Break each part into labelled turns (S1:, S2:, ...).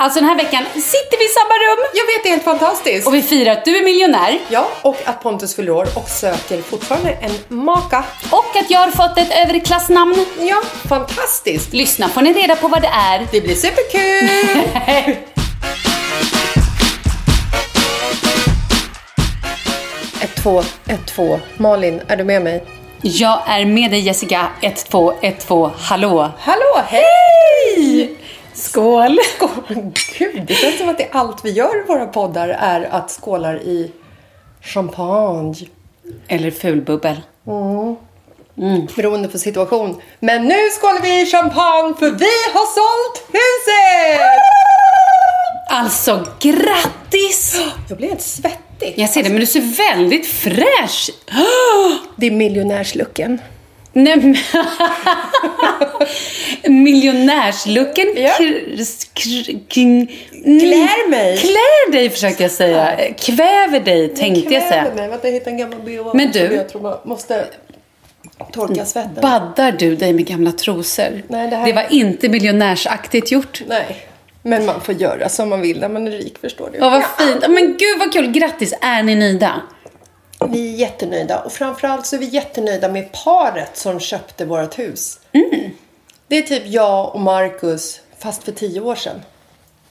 S1: Alltså den här veckan sitter vi i samma rum
S2: Jag vet, det är helt fantastiskt.
S1: och vi firar att du är miljonär
S2: ja, och att Pontus fyller år och söker fortfarande en maka.
S1: och att jag har fått ett överklassnamn.
S2: Ja, fantastiskt.
S1: Lyssna får ni reda på vad det är.
S2: Det blir superkul! ett, två, ett, två. Malin, är du med mig?
S1: Jag är med dig Jessica, 1212, hallå!
S2: Hallå, hej!
S1: Skål!
S2: Gud, det känns som att det är allt vi gör i våra poddar är att skålar i champagne. Mm.
S1: Eller fulbubbel.
S2: Beroende på situation. Men nu skålar vi i champagne för vi har sålt huset!
S1: Alltså grattis!
S2: Jag blir helt svettig.
S1: Jag ser det, men du ser väldigt fräsch
S2: Det är miljonärslucken.
S1: Nej, men- Miljonärslucken
S2: Ja.
S1: kr- kr- kring- mm,
S2: Klär mig.
S1: Klär dig försökte jag säga. Kväver dig tänkte jag säga.
S2: mig. Vänta, jag hittade en gammal bh.
S1: Men du- Mm.
S2: Jag tror man måste torka svetten.
S1: Baddar du dig med gamla trosor?
S2: Nej, det här-
S1: var inte miljonärsaktigt gjort.
S2: Nej. Men man får göra som man vill när man är rik, förstår du?
S1: Åh, vad fint. Åh, Men gud vad kul. Grattis. Är ni nöjda?
S2: Vi är jättenöjda och framförallt så är vi jättenöjda med paret som köpte vårt hus.
S1: Mm.
S2: Det är typ jag och Marcus, fast för tio år sedan.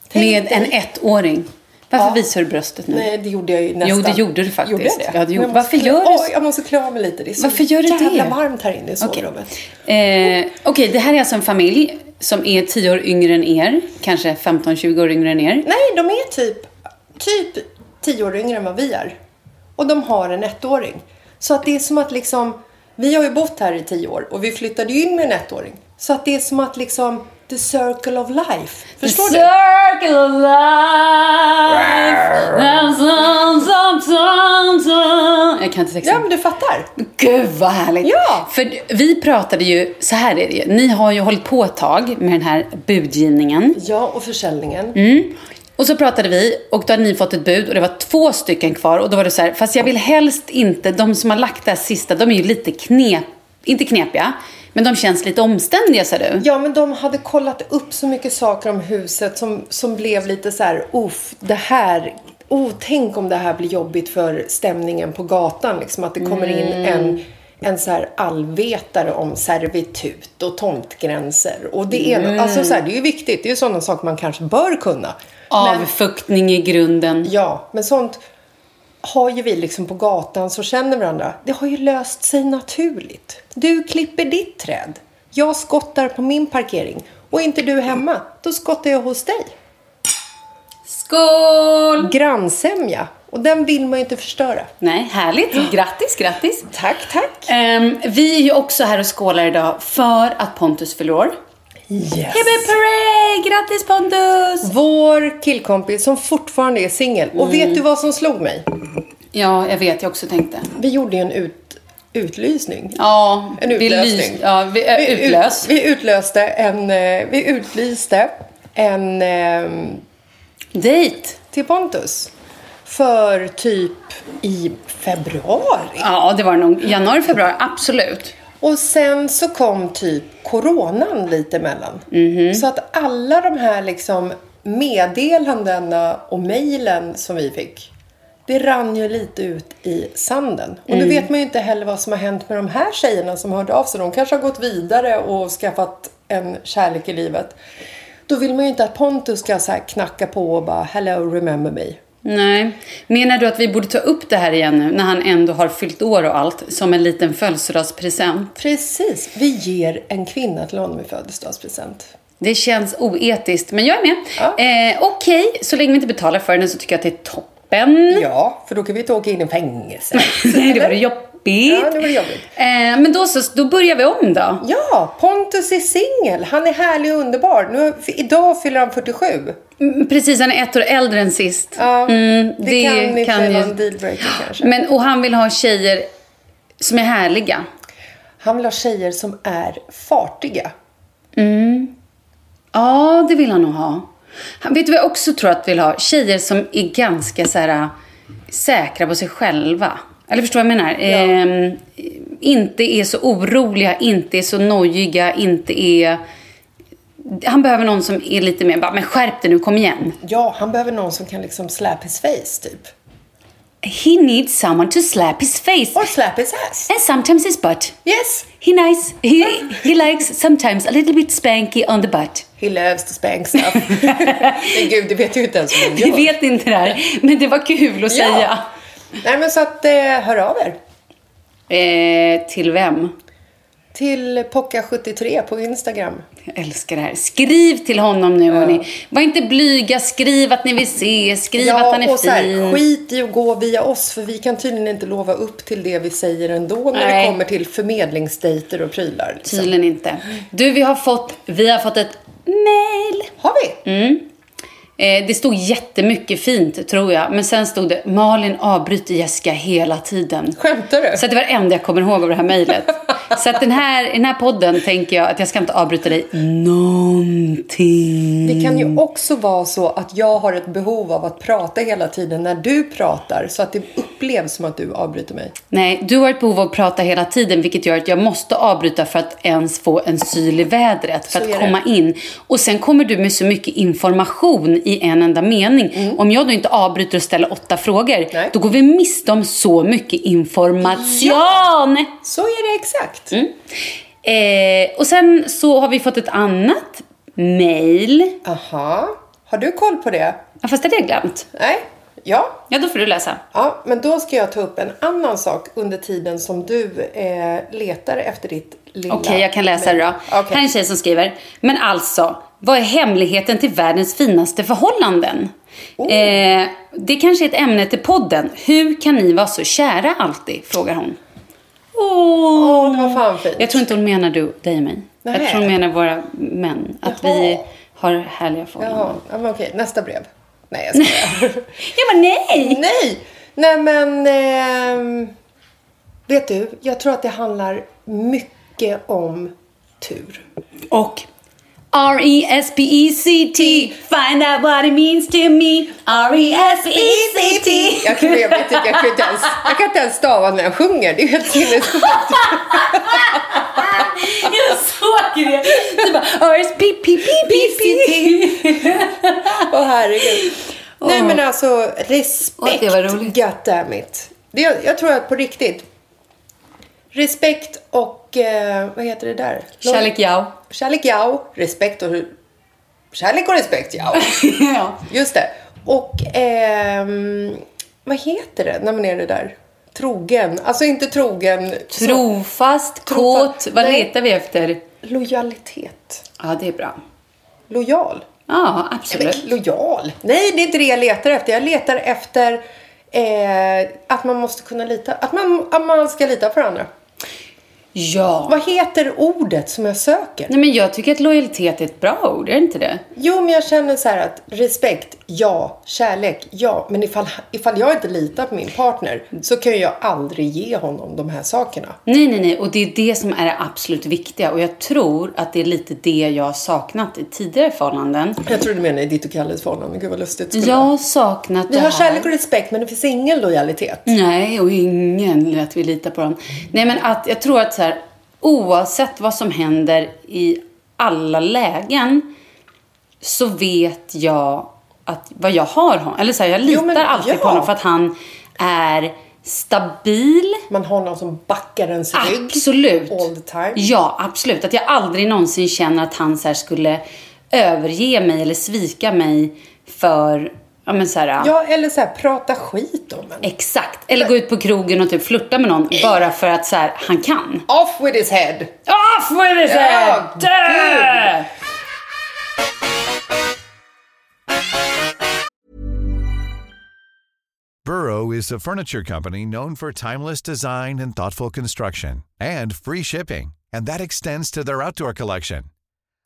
S2: Tänk
S1: Med
S2: dig-
S1: en ettåring. Varför
S2: Ja.
S1: visar du bröstet nu?
S2: Nej, det gjorde jag ju nästan.
S1: Jo, det gjorde du faktiskt.
S2: Gjorde jag det?
S1: Ja, det gjorde-
S2: Jag måste
S1: Varför
S2: klä-
S1: gör du så?
S2: Oj, jag måste klä av mig lite. Det är så
S1: Varför gör du det?
S2: jävla varmt här inne i
S1: Okej,
S2: sovrummet.
S1: eh, okej, det här är alltså en familj som är 10 år yngre än er. Kanske 15-20 år yngre än er.
S2: Nej, de är typ, typ tio år yngre än vad vi är. Och de har en ettåring. Så att det är som att liksom... Vi har ju bott här i tio år och vi flyttade ju in med en ettåring. Så att det är som att liksom... The circle of life. Förstår du?
S1: Circle of life. And some, some, some, some. Jag kan inte texten.
S2: Ja, men du fattar.
S1: Gud vad härligt!
S2: Ja.
S1: För vi pratade ju, så här är det ju, ni har ju hållit på ett tag med den här budgivningen.
S2: Ja, och försäljningen.
S1: Och så pratade vi och då hade ni fått ett bud och det var två stycken kvar och då var det så här, fast jag vill helst inte, de som har lagt det här sista, de är ju lite knep, inte knepiga, men de känns lite omständiga sa du.
S2: Ja, men de hade kollat upp så mycket saker om huset som, som blev lite så här, uff, det här, oh, tänk om det här blir jobbigt för stämningen på gatan, liksom att det kommer in en en så här allvetare om servitut och tomtgränser. Och det ena, alltså så här, det är ju viktigt. Det är ju sådana saker man kanske bör kunna.
S1: Avfuktning i grunden.
S2: Ja, men sånt har ju vi liksom på gatan så känner varandra. Det har ju löst sig naturligt. Du klipper ditt träd. Jag skottar på min parkering. Och är inte du hemma, då skottar jag hos dig.
S1: Skål!
S2: Grannsämja. Och den vill man ju inte förstöra.
S1: Nej, härligt. Grattis, grattis.
S2: Tack, tack.
S1: Ehm, vi är ju också här och skålar idag för att Pontus fyller år.
S2: Yes.
S1: Happy parade! Grattis Pontus!
S2: Vår killkompis som fortfarande är singel. Och vet du vad som slog mig?
S1: Ja, jag vet, jag också tänkte.
S2: Vi gjorde ju en ut, utlysning.
S1: Ja,
S2: En
S1: vi
S2: utlösning.
S1: lys- ja, vi, äh,
S2: ut-
S1: utlös.
S2: Vi utlöste en... eh, Vi utlyste en... ehm,
S1: Dejt.
S2: till Pontus. För typ i februari.
S1: Ja, det var nog januari, februari, absolut.
S2: Och sen så kom typ coronan lite emellan. Så att alla de här liksom meddelandena och mejlen som vi fick. Det rann ju lite ut i sanden. Och nu vet man ju inte heller vad som har hänt med de här tjejerna som hörde av sig. De kanske har gått vidare och skaffat en kärlek i livet. Då vill man ju inte att Pontus ska så här knacka på och bara “Hello, remember me?”
S1: Nej. Menar du att vi borde ta upp det här igen nu när han ändå har fyllt år och allt som en liten födelsedagspresent?
S2: Precis. Vi ger en kvinna till honom i födelsedagspresent.
S1: Det känns oetiskt, men jag är med.
S2: Ja.
S1: Eh, Okej, så länge vi inte betalar för den så tycker jag att det är toppen.
S2: Ja, för då kan vi inte åka in i fängelse.
S1: Mm. Nej, det var jobbigt.
S2: Ja, det var jobbigt.
S1: Eh, men då så, då börjar vi om då.
S2: Ja, Pontus är singel. Han är härlig och underbar. Nu, idag fyller han 47.
S1: Mm, Precis, han är ett år äldre än sist.
S2: Ja,
S1: Mm,
S2: det, kan inte vara en dealbreaker kanske.
S1: Men, och han vill ha tjejer som är härliga.
S2: Han vill ha tjejer som är fartiga.
S1: Ja, det vill han nog ha. Han, vet du vad jag också tror att vill ha? Tjejer som är ganska så här, äh, säkra på sig själva. Eller förstår vad jag menar? Ehm, inte är så oroliga, inte är så nojiga, inte är han behöver någon som är lite mer bara, men skärp dig nu, kom igen.
S2: Ja, han behöver någon som kan liksom slap his face typ.
S1: He needs someone to slap his face.
S2: Or slap his ass.
S1: And sometimes his butt.
S2: Yes,
S1: He nice. He, he likes sometimes a little bit spanky on the butt.
S2: he loves to spank stuff. Men gud, det vet jag ju inte ens vad han
S1: Vi
S2: gör.
S1: vet inte det här, men det var kul att säga.
S2: Nej men så att, eh, hör av er.
S1: Eh, till vem?
S2: Till Pocka73 på Instagram.
S1: Jag älskar det här. Skriv till honom nu, hörni. Var inte blyga. Skriv att ni vill se. Skriv att han är
S2: och så här,
S1: fin.
S2: skit i att gå via oss för vi kan tydligen inte lova upp till det vi säger ändå när
S1: Nej.
S2: det kommer till förmedlingsdejter och prylar. Liksom.
S1: Tydligen inte. Du, vi har fått, vi har fått ett mail. Mm.
S2: Har vi?
S1: Eh, det stod jättemycket fint, tror jag. Men sen stod det Malin avbryter Jessica hela tiden.
S2: Skämtar du?
S1: Så att det var det enda jag kommer ihåg av det här mejlet. Så att den här, i den här podden tänker jag att jag ska inte avbryta dig någonting.
S2: Det kan ju också vara så att jag har ett behov av att prata hela tiden när du pratar så att det upplevs som att du avbryter mig.
S1: Nej, du har ett behov av att prata hela tiden vilket gör att jag måste avbryta för att ens få en syl i vädret för
S2: är
S1: att
S2: det.
S1: komma in. Och sen kommer du med så mycket information i en enda mening. Om jag då inte avbryter och ställer åtta frågor,
S2: Mm. Nej.
S1: då går vi miste om så mycket information.
S2: Så är det exakt.
S1: Mm. Eh, och sen så har vi fått ett annat mail.
S2: Aha. Har du koll på det?
S1: Ja, fast det hade jag glömt.
S2: Nej? Ja,
S1: Ja, då får du läsa.
S2: Ja, men då ska jag ta upp en annan sak under tiden som du eh, letar efter ditt lilla...
S1: Okej, jag kan läsa det då.
S2: Okej.
S1: Här är en tjej som skriver. Men alltså, vad är hemligheten till världens finaste förhållanden?
S2: Oh.
S1: Eh, det kanske är ett ämne till podden. Hur kan ni vara så kära alltid? Frågar hon. Oh.
S2: Det var fan fint.
S1: Jag tror inte hon menar du, dig och mig.
S2: Nej.
S1: Jag tror hon menar våra män. Att
S2: Jaha.
S1: vi har härliga förhållanden.
S2: Ja, ja, men okej. Nästa brev. Nej, jag skojar.
S1: Jag bara, nej!
S2: Nej! Nej, men... ehm, vet du? Jag tror att det handlar mycket om tur.
S1: Och E R-E-S-P-E-C-T Find out what it means to me E R-E-S-P-E-C-T
S2: Jag kan, jag, vet, inte, jag, kan inte ens, jag kan inte ens stava när jag sjunger. Det är ju helt sinnessjukt.
S1: Jag såg det! Du bara RSPPPPPP.
S2: Åh herregud. Nej men alltså respekt.
S1: Oj, det var roligt.
S2: Goddammit. Det, jag, jag tror att på riktigt. Respekt och eh, vad heter det där?
S1: Kärlek ja.
S2: Kärlek ja. Respekt och kärlek och respekt ja.
S1: ja.
S2: Just det. Och ehm, vad heter det när man är det där? Trogen. Alltså inte trogen. så-
S1: Trofast,
S2: Trofast.
S1: kåt. Vad
S2: Nej.
S1: letar vi efter?
S2: Lojalitet.
S1: Ja, det är bra.
S2: Lojal.
S1: Ja,
S2: Men
S1: absolut.
S2: lojal? Nej, det är inte det jag letar efter. Jag letar efter eh, att man måste kunna lita. Att man, att man ska lita på varandra.
S1: Ja.
S2: Vad heter ordet som jag söker?
S1: Nej, men jag tycker att lojalitet är ett bra ord, är det inte det?
S2: Jo, men jag känner så här att respekt, ja. Kärlek, ja. Men ifall, ifall jag inte litar på min partner så kan jag aldrig ge honom de här sakerna.
S1: Nej, nej, nej. Och det är det som är det absolut viktiga. Och jag tror att det är lite det jag har saknat i tidigare förhållanden.
S2: Jag tror du menar i ditt och Kalles förhållande. Gud vad lustigt det skulle
S1: Jag
S2: vara.
S1: har saknat
S2: Vi
S1: det
S2: har
S1: här.
S2: kärlek och respekt men det finns ingen lojalitet.
S1: Nej, och ingen att vi litar på dem. Nej, men att, jag tror att så här, oavsett vad som händer i alla lägen så vet jag att vad jag har honom. Eller så här, jag litar
S2: men-
S1: alltid
S2: ja.
S1: på honom för att han är stabil.
S2: Man har någon som backar ens rygg.
S1: Absolut.
S2: All the time.
S1: Ja, absolut. Att jag aldrig någonsin känner att han så här skulle överge mig eller svika mig för, ja men så här,
S2: Ja, eller så här, prata skit om en.
S1: Exakt. Eller gå ut på krogen och typ flirta med någon bara för att så här, han kan.
S2: Off with his head!
S1: Off with it!
S2: Ja,
S1: Dö!
S3: Burrow is a furniture company known for timeless design and thoughtful construction and free shipping, and that extends to their outdoor collection.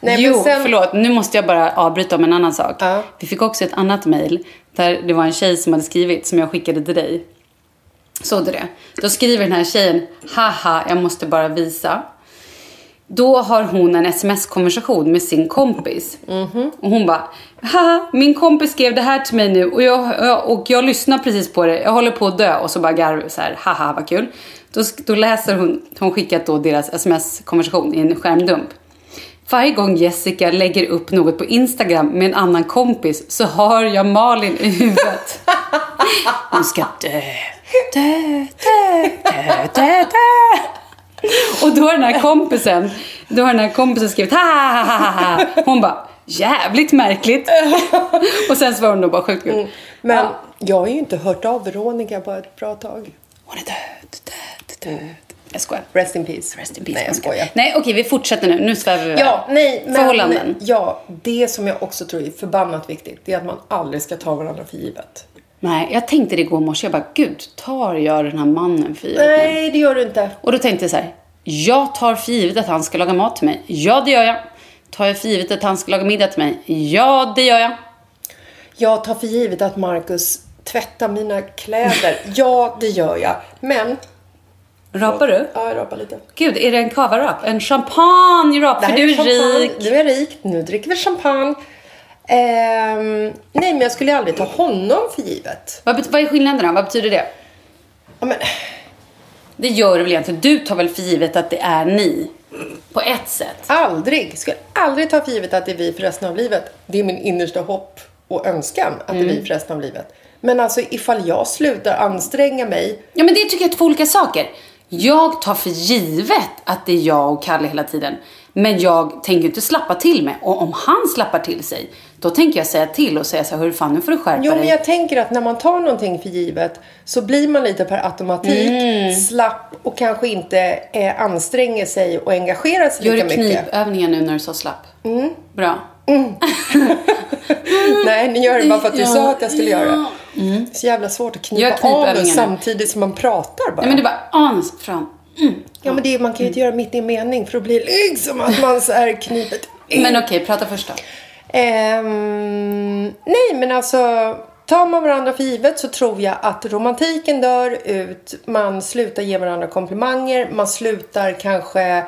S2: Nej,
S4: jo,
S2: men sen-
S4: förlåt. Nu måste jag bara avbryta om en annan sak.
S2: Ja.
S4: Vi fick också ett annat mejl där det var en tjej som hade skrivit som jag skickade till dig. Såg du det? Då skriver den här tjejen, haha, jag måste bara visa. Då har hon en sms-konversation med sin kompis.
S2: Mhm.
S4: Och hon bara, haha, min kompis skrev det här till mig nu och jag, jag- och jag lyssnar precis på det. Jag håller på att dö. Och så bara garv så här, haha vad kul. Då, sk- då läser hon, hon skickat då deras sms-konversation i en skärmdump. Varje gång Jessica lägger upp något på Instagram med en annan kompis så har jag Malin i huvudet. Hon ska dö, dö, dö, dö, dö, dö. Och då har den här kompisen, då har den här kompisen skrivit ha ha ha ha ha. Hon bara jävligt märkligt. Och sen svarar hon då bara sjukt kul.
S2: Mm, Men jag har ju inte hört av Veronica på ett bra tag.
S4: Hon är död, död, död. Jag skojar.
S2: Rest in peace.
S4: Eh, Rest in peace.
S2: Nej, jag
S4: Monica.
S2: skojar.
S4: Nej okej vi fortsätter nu, nu svävar vi iväg.
S2: Ja, nej, men,
S4: Förhållanden.
S2: Ja, det som jag också tror är förbannat viktigt, det är att man aldrig ska ta varandra för givet.
S4: Nej, jag tänkte det igår morse. Jag bara, gud, tar jag den här mannen för givet nu?
S2: Nej, det gör du inte.
S4: Och då tänkte jag så här, jag tar för givet att han ska laga mat till mig. Ja, det gör jag. Tar jag för givet att han ska laga middag till mig? Ja, det gör jag.
S2: Jag tar för givet att Marcus tvättar mina kläder. ja, det gör jag. Men...
S4: Rapar du?
S2: Ja, jag rapar lite.
S4: Gud, är det en kavarap? En champagne-rap? För du är
S2: champagne.
S4: rik.
S2: Du är rik. Nu dricker vi champagne. Ehm, nej, men jag skulle ju aldrig ta honom för givet.
S4: Vad, bet- vad är skillnaderna? Vad betyder det?
S2: Ja, men,
S4: Det gör det väl egentligen. Du tar väl för givet att det är ni? På ett sätt.
S2: aldrig. Skulle aldrig ta för givet att det är vi för resten av livet. Det är min innersta hopp och önskan att det
S4: Mm.
S2: är vi för resten av livet. Men alltså ifall jag slutar anstränga mig.
S4: Ja, men det tycker jag är två olika saker. Jag tar för givet att det är jag och Kalle hela tiden. Men jag tänker inte slappa till mig. Och om han slappar till sig, då tänker jag säga till och säga så här, hur fan nu får du skärpa
S2: Jo, men
S4: dig.
S2: jag tänker att när man tar någonting för givet så blir man lite per automatik
S4: Mm.
S2: slapp och kanske inte eh, anstränger sig och engagerar sig
S4: Gör
S2: lika
S4: du
S2: mycket.
S4: knipövningar nu när du sa slapp?
S2: Mm.
S4: Bra.
S2: Nej, ni gör det bara för att du
S4: Ja,
S2: sa att jag skulle
S4: ja. Mm.
S2: göra det. Så jävla svårt att
S4: Gör
S2: knipa av
S4: knipövningar
S2: det
S4: nu.
S2: samtidigt som man pratar bara.
S4: Nej, men det är bara "Ah, ans fram. Mm.
S2: Ja, men det, man kan ju inte göra mitt i en mening för då blir det liksom att man så här knipet.
S4: Men okej, prata först då.
S2: Ehm, nej, men alltså tar man varandra för givet så tror jag att romantiken dör ut. Man slutar ge varandra komplimanger. Man slutar kanske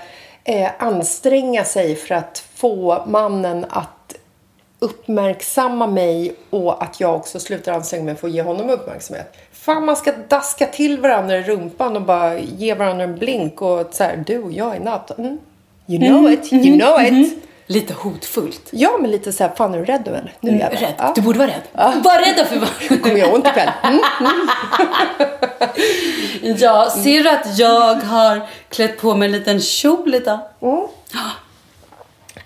S2: eh, anstränga sig för att få mannen att uppmärksamma mig och att jag också slutar anstränga mig för att ge honom uppmärksamhet. Fan, man ska daska till varandra i rumpan och bara ge varandra en blink och så här, du och jag i natt. Mm. You know it, you know it.
S4: Lite hotfullt.
S2: Ja, men lite så här, fan är du rädd nu eller? Nu jävlar.
S4: Mm, Rädd.
S2: Ja.
S4: Du borde vara rädd. Var rädd då för vad...
S2: kommer jag ont ikväll. Mm.
S4: Ja, ser du att jag har klätt på mig en liten kjol idag?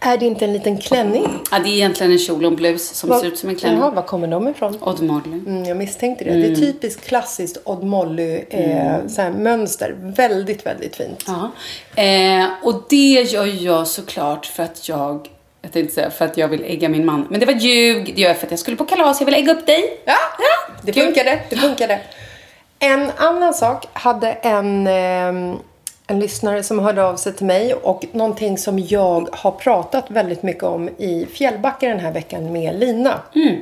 S2: Är det inte en liten klänning?
S4: Ja, det är egentligen en kjol och en blus som ser ut som en klänning.
S2: Jaha, var kommer de ifrån?
S4: Odd Molly.
S2: Mm, jag misstänkte det. Det är typiskt klassiskt Odd Molly eh,
S4: Mm.
S2: så här, mönster. Väldigt, väldigt fint.
S4: Ja. Eh, och det gör jag såklart för att jag, jag tänkte säga för att jag vill ägga min man. Men det var ljug. Det gör jag för att jag skulle på kalas. Jag vill ägga upp dig.
S2: Ja, det
S4: kul.
S2: funkade. Det funkade. En annan sak hade en, eh, en lyssnare som hörde av sig till mig och någonting som jag har pratat väldigt mycket om i Fjällbacka den här veckan med Lina.
S4: Mm.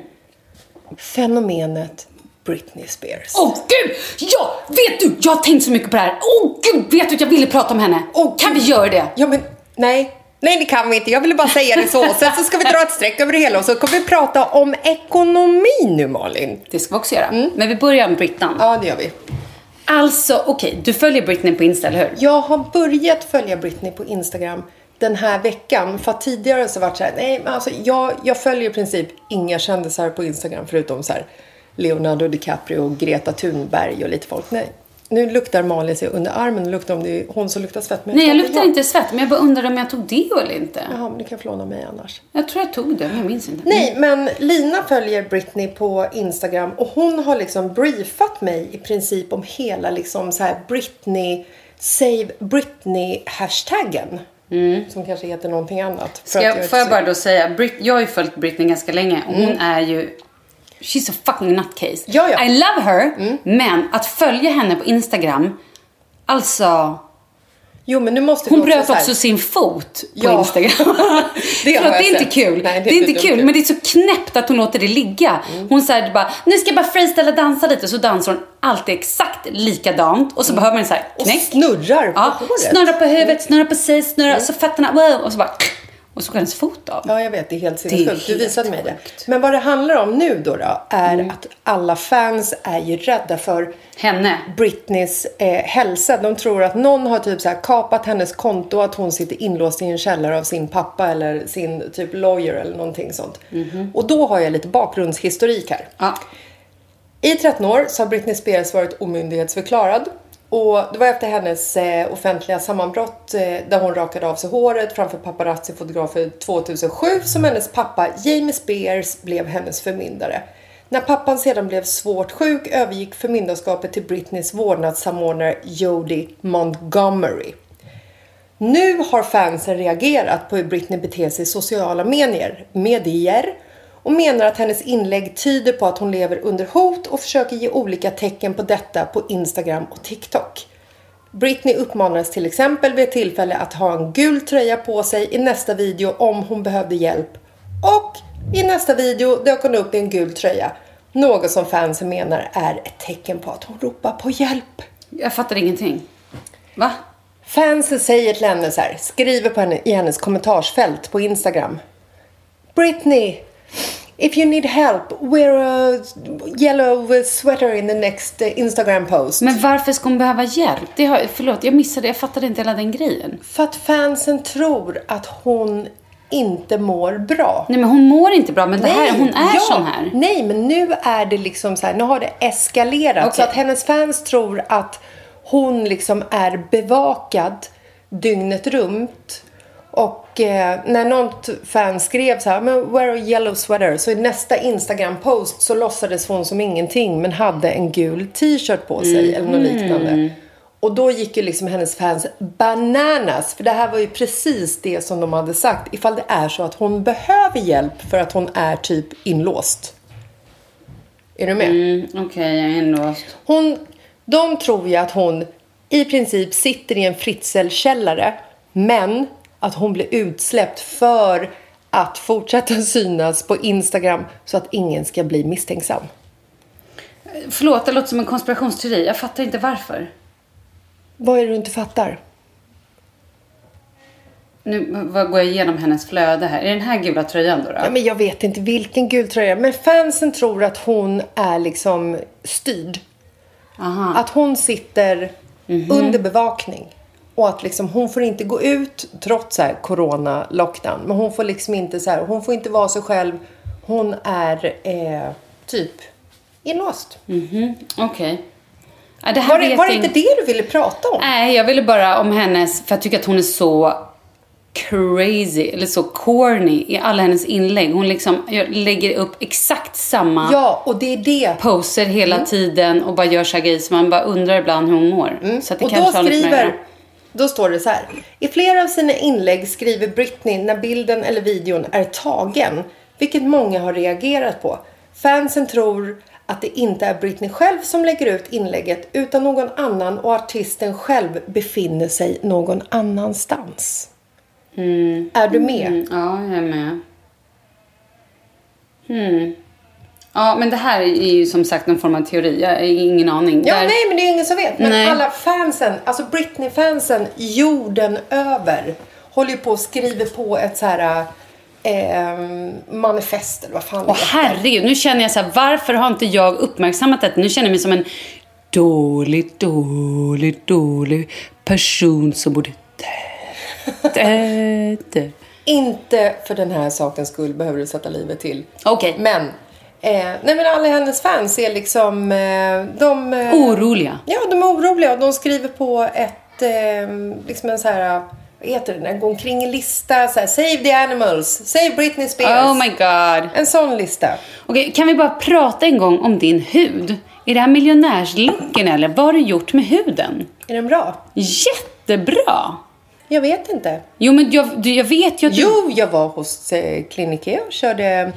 S2: Fenomenet Britney Spears.
S4: Åh gud! Ja, vet du? Jag har tänkt så mycket på det här. Åh gud, vet du att jag ville prata om henne?
S2: Åh,
S4: kan vi göra det?
S2: Ja, men nej. Nej, det kan vi inte. Jag ville bara säga det så. Sen så ska vi dra ett streck över det hela och så kommer vi prata om ekonomi nu, Malin.
S4: Det ska vi också göra. Men vi börjar med Brittan.
S2: Ja, det gör vi.
S4: Alltså, okej, du följer Britney på Insta, eller hur?
S2: Jag har börjat följa Britney på Instagram den här veckan. För att tidigare så varit så här, nej men alltså jag, jag följer i princip inga kändisar på Instagram förutom så här Leonardo DiCaprio och Greta Thunberg och lite folk. Nej. Nu luktar Malin sig under armen och luktar om det är hon som luktar svett. Men
S4: Nej, jag
S2: tror det
S4: luktar inte svett, men jag bara undrar om jag tog deo eller inte.
S2: Jaha, men du kan flåna mig annars.
S4: Jag tror jag tog det, men jag minns inte.
S2: Nej, men Lina följer Britney på Instagram och hon har liksom briefat mig i princip om hela liksom så här Britney, save Britney-hashtaggen. Som kanske heter någonting annat. för
S4: Mm. Ska
S2: att
S4: jag,
S2: inte
S4: får jag
S2: så-
S4: bara då säga, Brit, jag har ju följt Britney ganska länge och hon är ju She's a fucking nutcase.
S2: Ja, ja. Mm.
S4: I love her, men att följa henne på Instagram, alltså...
S2: Jo, men nu måste vi
S4: Hon
S2: också
S4: bröt
S2: så här-
S4: också sin fot på
S2: Ja.
S4: Instagram.
S2: Det har
S4: Förlåt,
S2: jag
S4: det är inte
S2: sett.
S4: kul.
S2: Nej,
S4: det, är inte kul,
S2: dumt. Mm.
S4: men det är så knäppt att hon låter det ligga. Hon säger bara, nu ska jag bara freestyla och dansa lite. Så dansar hon alltid exakt likadant. Och så behöver man en så här
S2: Mm. Och
S4: knäck.
S2: snurrar på
S4: ja,
S2: håret. Mm.
S4: Snurrar på huvudet, snurrar på sig, snurrar. Så fötterna, wow, och så bara... Och så går hennes fot av.
S2: Ja, jag vet. Det är helt
S4: är
S2: sinnessjukt. Du
S4: helt
S2: visade mig det.
S4: sjukt.
S2: Men
S4: Mm.
S2: vad det handlar om nu då, då är att alla fans är ju rädda för
S4: Henne.
S2: Britneys eh, hälsa. De tror att någon har typ så här kapat hennes konto, att hon sitter inlåst i en källare av sin pappa eller sin typ lawyer eller någonting sånt. Och då har jag lite bakgrundshistorik här.
S4: Ja.
S2: I 13 år så har Britney Spears varit omyndighetsförklarad. Och det var efter hennes eh, offentliga sammanbrott eh, där hon rakade av sig håret framför paparazzi-fotografer 2007 som hennes pappa Jamie Spears blev hennes förmyndare. När pappan sedan blev svårt sjuk övergick förmyndarskapet till Britneys vårdnadssamordnare Jodie Montgomery. Nu har fansen reagerat på hur Britney beter sig i sociala medier, medier och menar att hennes inlägg tyder på att hon lever under hot och försöker ge olika tecken på detta på Instagram och TikTok. Britney uppmanades till exempel vid ett tillfälle att ha en gul tröja på sig i nästa video om hon behövde hjälp. Och i nästa video dök hon upp i en gul tröja. Något som fansen menar är ett tecken på att hon ropar på hjälp.
S4: Jag fattar ingenting. Va?
S2: Fansen säger till henne så här, skriver på henne, i hennes kommentarsfält på Instagram. Britney, if you need help, wear a yellow sweater in the next eh, Instagram post.
S4: Men varför ska hon behöva hjälp? Det har, förlåt, jag missade. Jag fattade inte hela den grejen.
S2: För att fansen tror att hon inte mår bra.
S4: Nej, men hon mår inte bra. Men det här, hon är
S2: ja,
S4: sån här.
S2: Nej, men nu är det liksom så här, nu har det eskalerat.
S4: Okej.
S2: Så att hennes fans tror att hon liksom är bevakad dygnet runt Och eh, när något fan skrev så här, men wear a yellow sweater. Så i nästa Instagram-post så låtsades hon som ingenting men hade en gul t-shirt på sig eller något liknande. Och då gick ju liksom hennes fans bananas. För det här var ju precis det som de hade sagt. Ifall det är så att hon behöver hjälp för att hon är typ inlåst. Är du med?
S4: Mm, Okej, jag är inlåst.
S2: Hon, de tror ju att hon i princip sitter i en fritzelkällare men att hon blir utsläppt för att fortsätta synas på Instagram så att ingen ska bli misstänksam.
S4: Förlåt, det låter som en konspirationsteori. Jag fattar inte varför.
S2: Vad är det du inte fattar?
S4: Nu vad går jag igenom hennes flöde här. Är det den här gula tröjan då? då?
S2: Ja, men jag vet inte vilken gul tröja. Men fansen tror att hon är liksom styrd. Att hon sitter under bevakning. Och att liksom hon får inte gå ut trots så här corona lockdown. Men hon får liksom inte så här, hon får inte vara sig själv. Hon är eh, typ inlåst.
S4: Mhm, Okej. Ja, det här
S2: Var, det,
S4: vet
S2: var det
S4: jag
S2: inte det du ville prata om?
S4: Nej, jag ville bara om hennes, för jag tycker att hon är så crazy, eller så corny i alla hennes inlägg. Hon liksom gör- lägger upp exakt samma
S2: Ja, Mm. och det är det.
S4: poser hela tiden och bara gör så här grejer så man bara undrar ibland hur hon mår. Så att
S2: Mm.
S4: det
S2: och då
S4: kanske har lite med det
S2: skriver,
S4: att göra.
S2: då står det så här. I flera av sina inlägg skriver Britney när bilden eller videon är tagen, vilket många har reagerat på. Fansen tror att det inte är Britney själv som lägger ut inlägget utan någon annan och artisten själv befinner sig någon annanstans.
S4: Mm.
S2: Är du med?
S4: Ja, jag är med. Hmm. Ja, men det här är ju som sagt någon form av teori. Jag har ingen aning.
S2: Ja,
S4: Där-
S2: nej, men det är ju ingen som vet. Men
S4: Nej.
S2: alla fansen, alltså Britney-fansen jorden över håller ju på och skriver på ett så här ehm, manifest eller vad fan det
S4: Och
S2: heter.
S4: herregud, nu känner jag så här, varför har inte jag uppmärksammat detta? Nu känner jag mig som en dålig, dålig, dålig person som borde... dö, dö, dö.
S2: Inte för den här sakens skull behöver du sätta livet till.
S4: Okej.
S2: Men, eh, nej men alla hennes fans är liksom, eh, de... Eh,
S4: Oroliga.
S2: Ja, de är oroliga och de skriver på ett, eh, liksom en så här, vad heter det, den här gå omkring-lista, så här, save the animals, save Britney Spears.
S4: Oh my god.
S2: En sån lista.
S4: Okej, kan vi bara prata en gång om din hud? Är det här miljonärslocken eller? Vad har du gjort med huden?
S2: Är den bra?
S4: Jättebra!
S2: Jag vet inte.
S4: Jo, men jag, du, jag vet ju att du...
S2: Jo, jag var hos eh, Klinikea och körde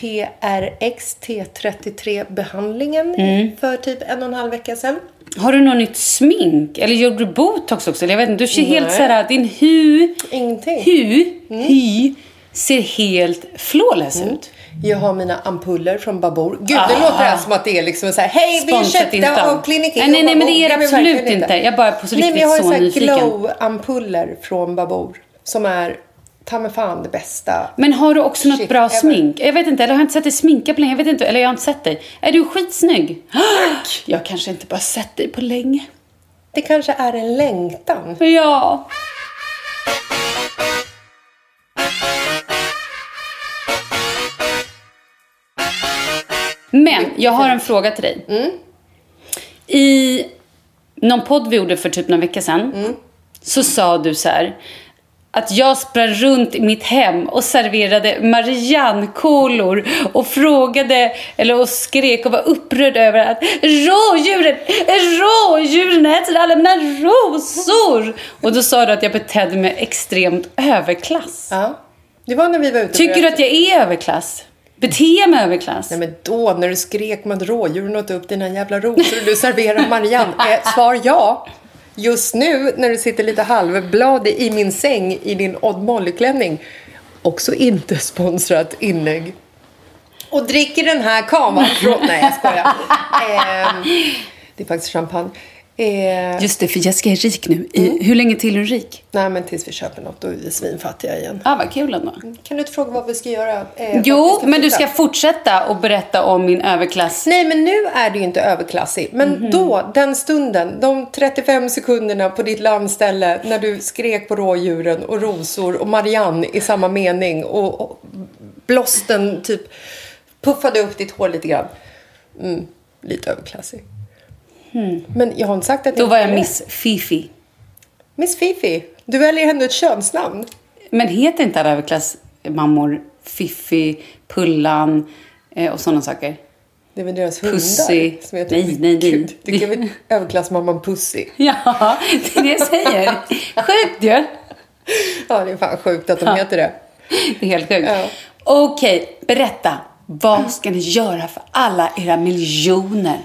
S2: PRXT33-behandlingen
S4: Mm.
S2: för typ en och en halv vecka sedan.
S4: Har du något nytt smink? Eller gjorde du botox också? Eller jag vet inte, du ser helt
S2: Nej.
S4: så här, din hu...
S2: Ingenting. Mm.
S4: Hu, hy, ser helt flawless ut.
S2: Jag har mina ampuller från Babor. Gud, det låter här som att det är liksom så här, hej, vi är
S4: Ah. Sponsrat inte.
S2: köpta av Klinikea
S4: Nej, nej,
S2: och
S4: nej, men
S2: Babor."
S4: det är det
S2: verkligen
S4: absolut inte. Jag bara är på så
S2: Nej, men
S4: riktigt
S2: jag har
S4: så
S2: ju här
S4: nyfiken.
S2: glow-ampuller från Babor som är ta mig fan det bästa.
S4: Men har du också något
S2: Shit,
S4: bra
S2: jag bara-
S4: smink? Jag vet inte, eller har jag inte sett dig sminka på länge? Jag vet inte, eller jag har inte sett dig. Är du skitsnygg? Tack! Jag kanske inte bara sett dig på länge.
S2: Det kanske är en längtan.
S4: Ja. Men jag har en fråga till dig. I någon podd vi gjorde för typ några veckor sedan så sa du så här att jag sprang runt i mitt hem och serverade Mariannekolor och frågade, eller och skrek och var upprörd över att rådjuren, rådjuren äter alla mina rosor. Och då sa du att jag betedde mig extremt överklass.
S2: Ja. Det var när vi var ute och
S4: Tycker
S2: rökte.
S4: du att jag är överklass? Beter jag mig överklass?
S2: Nej men då när du skrek om att rådjuren åt upp dina jävla rosor och du serverar Marianne. Eh, svar ja. Just nu när du sitter lite halvbladig i min säng i din Odd Molly-klänning. Också inte sponsrat inlägg. Och dricker den här kavan från... Nej jag skojar. Ehm, det är faktiskt champagne. Eh,
S4: Just det, för Jessica är rik nu. I,
S2: Mm.
S4: Hur länge till är du rik?
S2: nej men tills vi köper något då är vi svinfattiga igen.
S4: Ja, ah, vad kul ändå.
S2: Kan du inte fråga vad vi ska göra? Eh, vart vi
S4: Jo, men du
S2: flytta?
S4: ska fortsätta och berätta om min överklass.
S2: Nej, men nu är det ju inte överklassig. Men
S4: Mhm.
S2: då, den stunden, de 35 sekunderna på ditt landställe när du skrek på rådjuren och rosor och Marianne i samma mening och, och blåsten typ puffade upp ditt hår lite grann. Mm, lite överklassig. Men jag har inte sagt att
S4: Hmm. Då
S2: inte
S4: var jag
S2: är det.
S4: Miss Fifi.
S2: Miss Fifi. Du väljer ändå ett könsnamn.
S4: Men heter inte alla överklassmammor Fiffi, Pullan eh, och sådana saker?
S2: Det är väl deras
S4: Pussy.
S2: hundar som heter
S4: Nej, nej, nej.
S2: Gud, Det kan väl överklassmamman Pussy.
S4: Ja, det är det jag säger. Sjukt ju.
S2: Ja, det är fan sjukt att de heter det.
S4: Det är helt sjukt.
S2: Ja.
S4: Okej, berätta. Vad ska ni göra för alla era miljoner?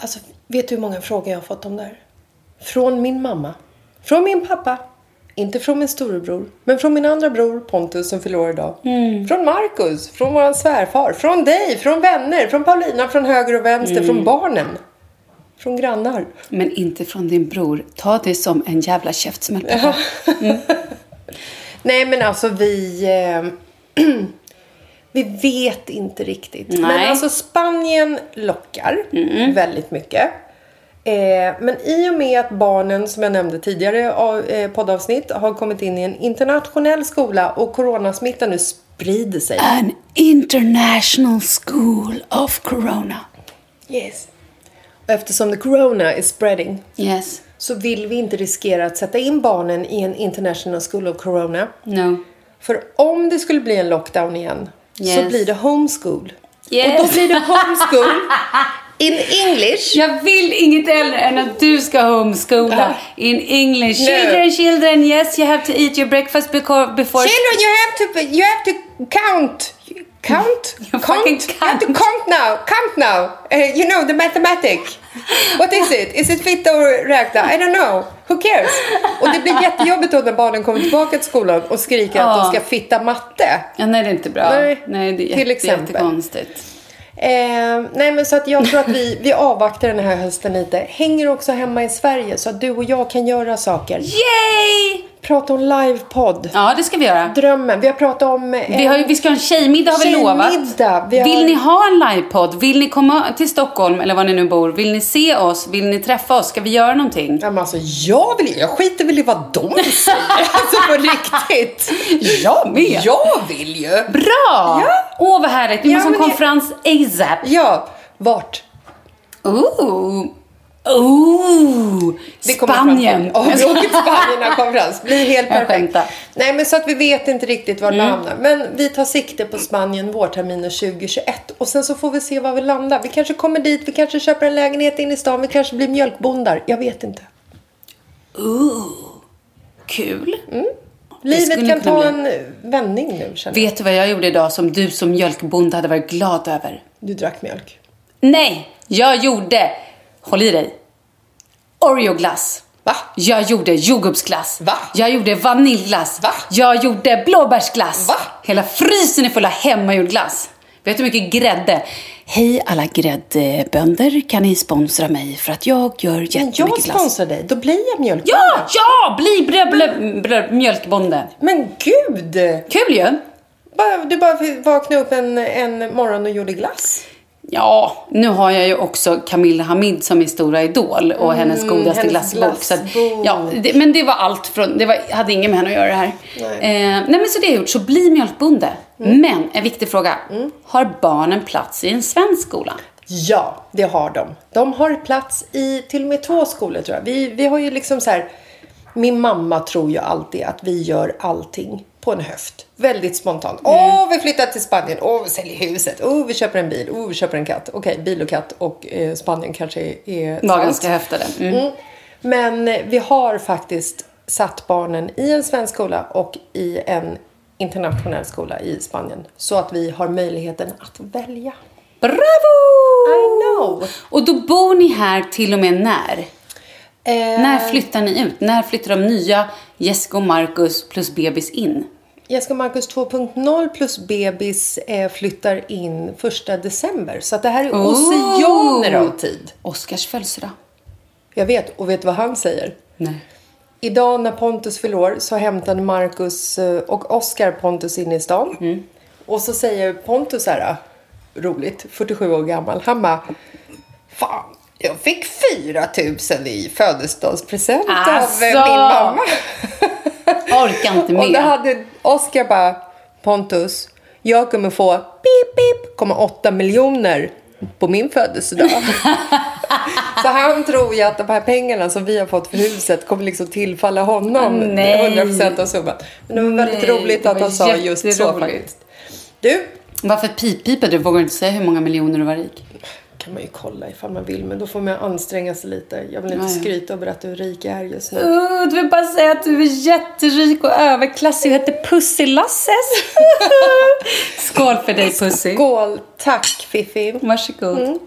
S2: Alltså, vet du hur många frågor jag har fått om det här? Från min mamma. Från min pappa. Inte från min storebror, men från min andra bror Pontus som förlorar idag. Från Markus, från våran svärfar, från dig, från vänner, från Paulina, från höger och vänster, från barnen. Från grannar.
S4: Men inte från din bror. Ta det som en jävla käftsmäll. pappa.
S2: Nej, men alltså vi... Eh, vi vet inte riktigt.
S4: Nej. Mm.
S2: Men alltså Spanien lockar väldigt mycket. Eh, men i och med att barnen, som jag nämnde tidigare av, eh, poddavsnitt, har kommit in i en internationell skola och coronasmittan nu sprider sig.
S4: An international school of corona.
S2: Yes. Och eftersom the corona is spreading
S4: Yes.
S2: så vill vi inte riskera att sätta in barnen i en international school of corona.
S4: No.
S2: För om det skulle bli en lockdown igen så
S4: Yes.
S2: blir det homeschool.
S4: Yes.
S2: Och då blir det homeschool in English.
S4: Jag vill inget hellre än att du ska homeschoola
S2: Ah.
S4: in English.
S2: No.
S4: Children, children, yes you have to eat your breakfast beco- before...
S2: Children, you have to you have to count. Count?
S4: You fucking
S2: count? You have to
S4: count.
S2: count now. Count now. Eh, you know the mathematic. What is it? Is it fitta och räkna? I don't know. Who cares? Och det blir jättejobbigt då när barnen kommer tillbaka till skolan och skriker att de ska fitta matte.
S4: Ja, nej, det är inte bra.
S2: Nej,
S4: det är
S2: till
S4: jätte,
S2: exempel.
S4: jättekonstigt.
S2: Eh, nej men så att jag tror att vi, vi avvaktar den här hösten lite. Hänger också hemma i Sverige så att du och jag kan göra saker.
S4: Yay!
S2: Prata om livepodd.
S4: Ja, det ska vi göra.
S2: Drömmen. Vi har pratat om... eh,
S4: Vi, har, ju- vi ska ha en tjejmiddag har vi
S2: Tjejmiddag,
S4: lovat.
S2: vi har-
S4: Vill ni ha en livepodd? Vill ni komma till Stockholm eller var ni nu bor? Vill ni se oss? Vill ni träffa oss? Ska vi göra någonting?
S2: Ja, men alltså, jag, vill, jag skiter väl i vad de säger. alltså på riktigt.
S4: Jag med.
S2: Jag vill ju.
S4: Bra!
S2: Ja.
S4: Åh, vad härligt. Vi
S2: Ja,
S4: måste ha en
S2: men det-
S4: konferens ASAP.
S2: Ja, vart?
S4: Ooh. Ooh.
S2: Det kommer fram
S4: Spanien.
S2: till. Ja, vi åker till Spanien när konferens. Blir helt
S4: Jag
S2: perfekt.
S4: skämtar. Mm.
S2: Nej, men så att vi vet inte riktigt var det hamnar. Men vi tar sikte på Spanien vårterminen 2021. Och sen så får vi se var vi landar. Vi kanske kommer dit, vi kanske köper en lägenhet in i stan, vi kanske blir mjölkbondar. Jag vet inte.
S4: Kul.
S2: Livet
S4: skulle
S2: kan
S4: kunna
S2: ta en eh, vändning nu känner jag.
S4: Vet du vad jag gjorde idag som du som mjölkbonde hade varit glad över?
S2: Du drack mjölk.
S4: Nej, jag gjorde, håll i dig, Oreoglass.
S2: Va?
S4: Jag gjorde jordgubbsglass.
S2: Va?
S4: Jag gjorde vaniljglass.
S2: Va?
S4: Jag gjorde blåbärsglass.
S2: Va?
S4: Hela frysen är full av hemmagjord glass. Vet du hur mycket grädde? Hej alla gräddbönder, kan ni sponsra mig för att jag gör
S2: Men
S4: jättemycket
S2: jag
S4: glass.
S2: sponsrar dig, då blir jag mjölkbonde.
S4: Ja, ja! Bli brö, blö, brö, mjölkbonde.
S2: Men gud!
S4: Kul ju.
S2: Bara- Du bara vaknade upp en, en morgon och gjorde glass.
S4: Ja, nu har jag ju också Camilla Hamid som är stora idol och hennes godaste
S2: Mm, hennes
S4: glassbok. Så att,
S2: glassbok.
S4: ja, det, men det var allt från, det var, hade inget med henne att göra det här.
S2: Nej. Mm.
S4: Eh, nej men så det är gjort, så bli mjölkbonde. Men en viktig fråga, har barnen plats i en svensk skola?
S2: Ja, det har de. De har plats i till och med två skolor tror jag. Vi, vi har ju liksom så här. Min mamma tror ju alltid att vi gör allting på en höft. Väldigt spontant. Åh, vi flyttar till Spanien. Åh, vi säljer huset. Åh, vi köper en bil. Åh, vi köper en katt. Okej, bil och katt och eh, Spanien kanske är- är
S4: Var
S2: sant.
S4: ganska höftade. Mm.
S2: Mm. Men eh, vi har faktiskt satt barnen i en svensk skola och i en internationell skola i Spanien. Så att vi har möjligheten att välja.
S4: Bravo!
S2: I know.
S4: Och då bor ni här till och med när?
S2: Eh,
S4: När flyttar ni ut? När flyttar de nya Jessica och Marcus plus bebis in?
S2: Jessica och Marcus 2.0 plus bebis eh, flyttar in 1 december. Så att det här är oceaner av tid.
S4: Oskars födelsedag.
S2: Jag vet, och vet du vad han säger?
S4: Nej.
S2: Idag när Pontus fyller år så hämtade Marcus eh, och Oscar Pontus in i stan. Och så säger Pontus så här, roligt, 47 år gammal, han bara Fan, jag fick 4 000 i födelsedagspresent
S4: Alltså!
S2: av eh, min mamma.
S4: Orkar inte
S2: Och då
S4: med.
S2: hade Oscar bara Pontus, jag kommer få pip, pip, 0,8 miljoner på min födelsedag. Så han tror ju att de här pengarna som vi har fått för huset kommer liksom tillfalla honom.
S4: Nej.
S2: 100% av summan. Men det var väldigt
S4: Nej,
S2: roligt
S4: det
S2: att
S4: var
S2: han sa just så
S4: jätteroligt.
S2: faktiskt. Du,
S4: Varför pippiper du? Vågar du inte säga hur många miljoner du var rik?
S2: kan man ju kolla ifall man vill, men då får man anstränga sig lite. Jag vill inte
S4: Ja, ja.
S2: skryta och berätta hur rik jag är just nu.
S4: Uh, du vill bara säga att du är jätterik och överklassig och heter Pussy-Lasses. Skål för dig Pussy.
S2: Skål! Tack Fiffi!
S4: Varsågod.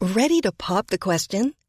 S5: Ready to pop the question?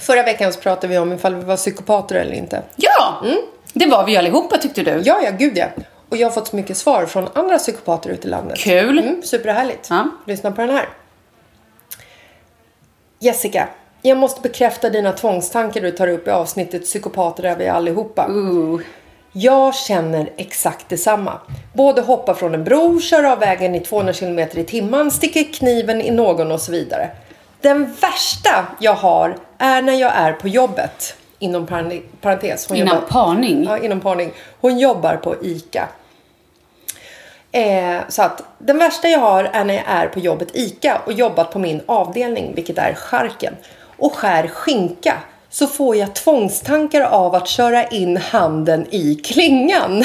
S2: Förra veckan så pratade vi om ifall vi var psykopater eller inte.
S4: Ja, det var vi allihopa tyckte du.
S2: Mm. Ja, ja, gud ja. Och jag har fått så mycket svar från andra psykopater ute i landet.
S4: Kul.
S2: Mm, superhärligt.
S4: Ja.
S2: Lyssna på den här. Jessica, jag måste bekräfta dina tvångstankar du tar upp i avsnittet Psykopater är vi allihopa. Jag känner exakt detsamma. Både hoppa från en bro, köra av vägen i 200 km i timmen, sticka kniven i någon och så vidare. Den värsta jag har är när jag är på jobbet. Inom parane- parentes. hon
S4: Innan
S2: jobbar-
S4: parning.
S2: Ja, inom parning. Hon jobbar på ICA. Eh, så att den värsta jag har är när jag är på jobbet ICA och jobbat på min avdelning, vilket är charken, och skär skinka så får jag tvångstankar av att köra in handen i klingan.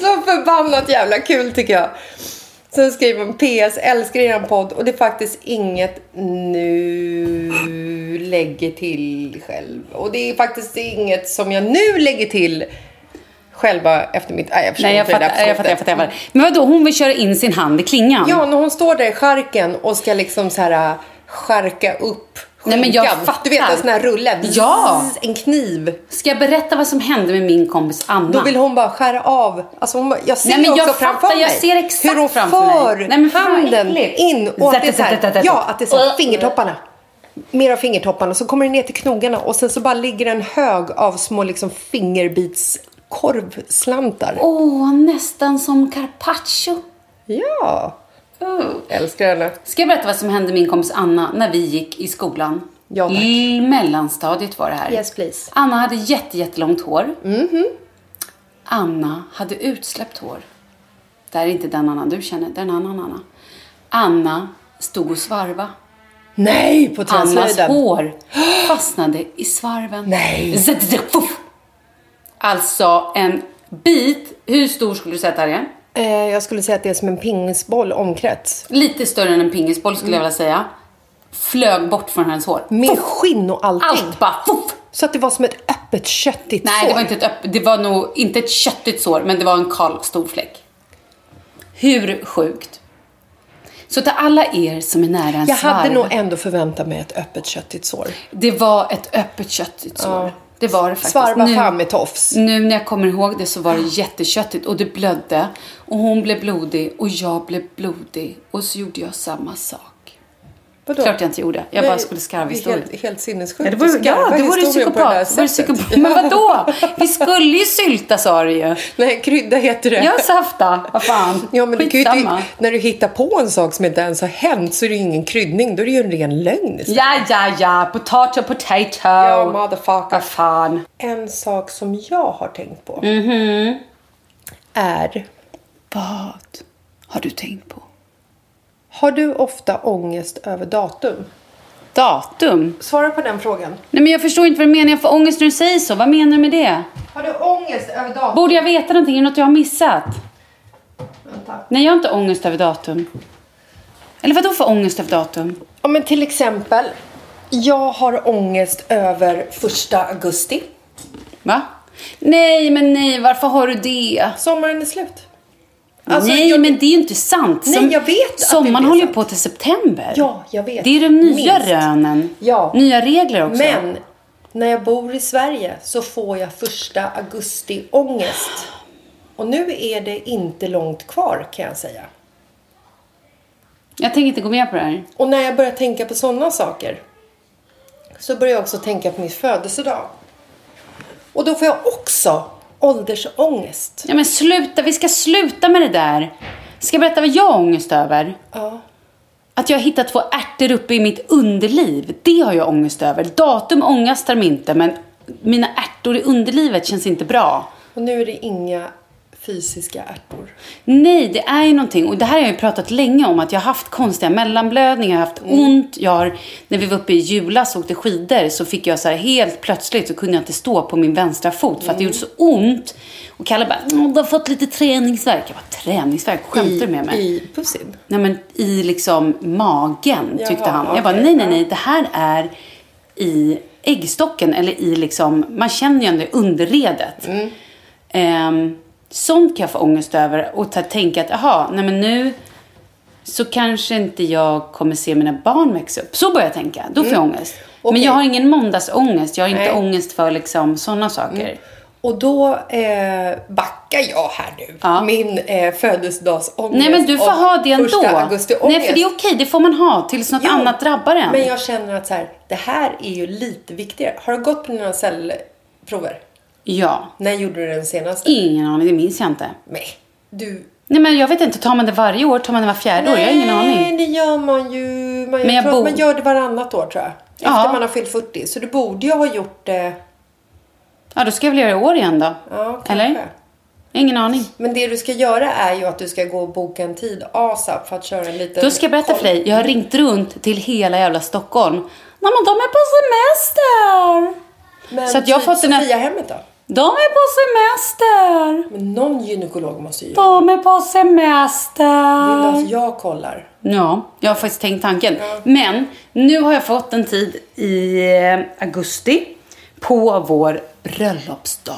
S2: så förbannat jävla kul tycker jag. Sen skriver hon PS, älskar eran podd och det är faktiskt inget nu lägger till själv. Och det är faktiskt inget som jag nu lägger till själva efter mitt... Nej, jag förstår
S4: Nej, jag
S2: inte det där
S4: fattar. Jag fattar,
S2: förståndet.
S4: jag fattar, jag fattar. Men vadå, hon vill köra in sin hand i klingan?
S2: Ja, när hon står där i skärken och ska liksom så här skärka upp
S4: Nej, men jag
S2: skinkan.
S4: fattar.
S2: Du vet en sån här rulle.
S4: Ja.
S2: En kniv.
S4: Ska jag berätta vad som hände med min kompis Anna?
S2: Då vill hon bara skära av. Alltså hon bara, jag ser
S4: Nej, men
S2: också
S4: jag
S2: framför
S4: fattar,
S2: mig
S4: jag ser exakt
S2: hur hon
S4: framför
S2: för
S4: mig. Nej, men fan, vad
S2: handen
S4: äckligt.
S2: in och att det är så
S4: Zat, zat,
S2: här,
S4: zat, zat.
S2: ja, att det är så här,
S4: Ugh.
S2: fingertopparna. Mer av fingertopparna. Så kommer det ner till knogarna och sen så bara ligger en hög av små liksom fingerbitskorvslantar.
S4: Åh, nästan som carpaccio.
S2: Ja,
S4: Oh.
S2: älskar henne.
S4: Ska jag berätta vad som hände min kompis Anna när vi gick i skolan?
S2: Ja, tack.
S4: I mellanstadiet var det här.
S2: Yes, please. Mm-hmm.
S4: Anna hade jätte, jättelångt hår. Anna hade utsläppt hår. Det här är inte den Anna du känner, det är en annan Anna. Anna stod och svarva.
S2: Nej, på
S4: Annas
S2: träslöjden.
S4: hår fastnade i svarven.
S2: Nej.
S4: Zut, zut, fuff. Alltså en bit, hur stor skulle du säga att det här är?
S2: Eh, jag skulle säga att det är som en pingisboll omkrets.
S4: Lite större än en pingisboll skulle
S2: Mm.
S4: jag vilja säga. Flög bort från hennes hår.
S2: Med skinn och allting.
S4: Allt bara fuff!
S2: Så att det var som ett öppet köttigt
S4: Nej,
S2: sår.
S4: det var, inte ett öpp- det var nog inte ett köttigt sår, men det var en kall stor fläck. Hur sjukt? Så till alla er som är nära en
S2: Jag
S4: svarv.
S2: hade nog ändå förväntat mig ett öppet köttigt sår.
S4: Det var ett öppet köttigt sår. Det var det faktiskt.
S2: Svarva
S4: Nu-
S2: fram med tofs.
S4: Nu när jag kommer ihåg det så var det jätteköttigt och det blödde. Och hon blev blodig och jag blev blodig. Och så gjorde jag samma sak.
S2: Vadå?
S4: Klart jag inte gjorde. Jag bara
S2: Nej,
S4: skulle skarva
S2: det är
S4: historier.
S2: Helt, helt sinnessjukt.
S4: Ja, det vore,
S2: att
S4: ja,
S2: skarva
S4: det vore ju
S2: historier på det här
S4: psykopat. Det vore
S2: sättet.
S4: psykopat. Men vadå? Vi skulle ju sylta sa du ju.
S2: Nej, krydda heter det.
S4: Jag safta. Vad fan.
S2: Ja, men du kan ju
S4: Skitsamma.
S2: inte, när du hittar på en sak som inte ens har hänt så är det ju ingen kryddning. Då är det ju en ren lögn. istället.
S4: Ja, ja, ja. Potato, potato.
S2: Ja, motherfucker.
S4: Vad fan.
S2: En sak som jag har tänkt på
S4: Mm-hmm.
S2: är,
S4: Vad har du tänkt på?
S2: har du ofta ångest över datum?
S4: Datum?
S2: Svara på den frågan.
S4: Nej, men jag förstår inte vad du menar. Jag får ångest när du säger så. Vad menar du med det?
S2: Har du ångest över datum?
S4: Borde jag veta någonting? Är det något jag har missat? Nej, jag har inte ångest över datum. Eller vadå för ångest över datum?
S2: Ja, men till exempel, jag har ångest över första augusti.
S4: Va? Nej, men nej. Varför har du det?
S2: Sommaren är slut.
S4: nej,
S2: Alltså, jag-
S4: men det är ju inte sant.
S2: Nej, jag vet att det
S4: Sommaren
S2: inte är
S4: håller ju
S2: sant.
S4: på till september.
S2: Ja, jag vet.
S4: Det är de nya
S2: Minst.
S4: rönen.
S2: Ja.
S4: Nya regler också.
S2: Men när jag bor i Sverige så får jag första augusti-ångest. Och nu är det inte långt kvar kan jag säga.
S4: Jag tänker inte gå med på det här.
S2: Och när jag börjar tänka på sådana saker så börjar jag också tänka på min födelsedag. Och då får jag också åldersångest.
S4: Ja, men sluta. Vi ska sluta med det där. Ska jag berätta vad jag har ångest över?
S2: Ja.
S4: Att jag har hittat två ärtor uppe i mitt underliv. Det har jag ångest över. Datum ångastar mig inte, men mina ärtor i underlivet känns inte bra.
S2: Och nu är det inga fysiska ärtor.
S4: Nej, det är ju någonting. Och det här har jag ju pratat länge om. Att jag har haft konstiga mellanblödningar, jag har haft
S2: Mm.
S4: ont. Jag har, när vi var uppe i julas och åkte skidor så fick jag så här helt plötsligt så kunde jag inte stå på min vänstra fot för
S2: Mm.
S4: att det gjorde så ont. Och Kalle bara, "Åh, du har fått lite träningsvärk. Jag bara, träningsvärk? Skämtar du med mig?
S2: I pussin.
S4: Nej, men i liksom magen tyckte
S2: Jaha,
S4: han. Jag bara,
S2: okej.
S4: nej, nej, nej. Det här är i äggstocken eller i liksom, man känner ju ändå underredet.
S2: Mm.
S4: Ehm, sånt kan jag få ångest över och ta, tänka att, jaha, nej men nu så kanske inte jag kommer se mina barn växa upp. Så börjar jag tänka. Då får jag ångest. Men
S2: Mm. Okej.
S4: jag har ingen måndagsångest. Jag har inte
S2: Nej. Mm.
S4: ångest för liksom sådana saker.
S2: Och då eh, backar jag här nu. Min eh, födelsedagsångest.
S4: Nej men du får
S2: och
S4: ha det ändå.
S2: Första augusti
S4: Nej för det är okej, det får man ha tills något annat drabbar en.
S2: Men jag känner att så här, det här är ju lite viktigare. Har du gått på dina cellprover?
S4: Ja.
S2: När gjorde du den senaste?
S4: Ingen aning, det minns jag inte.
S2: Nej, du...
S4: Nej men jag vet inte, tar man det varje år? Tar man det var fjärde år? Jag har ingen
S2: Nej,
S4: aning.
S2: det gör man ju. Man, jag
S4: Men jag
S2: tror
S4: bor-
S2: att man gör det varannat år tror jag. Efter
S4: Ja.
S2: man har fyllt 40. Så du borde ju ha gjort eh, det.
S4: Ja, då ska jag väl göra det i år igen då.
S2: Ja, kanske.
S4: Eller? Jag har Ingen aning.
S2: Men det du ska göra är ju att du ska gå och boka en tid ASAP för att köra en liten
S4: Då ska jag berätta för dig, jag har ringt runt till hela jävla Stockholm. Nej men de är på semester!
S2: Men typ
S4: Så att jag har fått den här-
S2: Sofiahemmet då?
S4: De är på semester!
S2: Men någon gynekolog måste ju göra
S4: De är på
S2: det. Vill du
S4: semester!
S2: att jag kollar?
S4: Ja, jag har faktiskt tänkt tanken. Men nu har jag fått en tid i eh, augusti på vår bröllopsdag.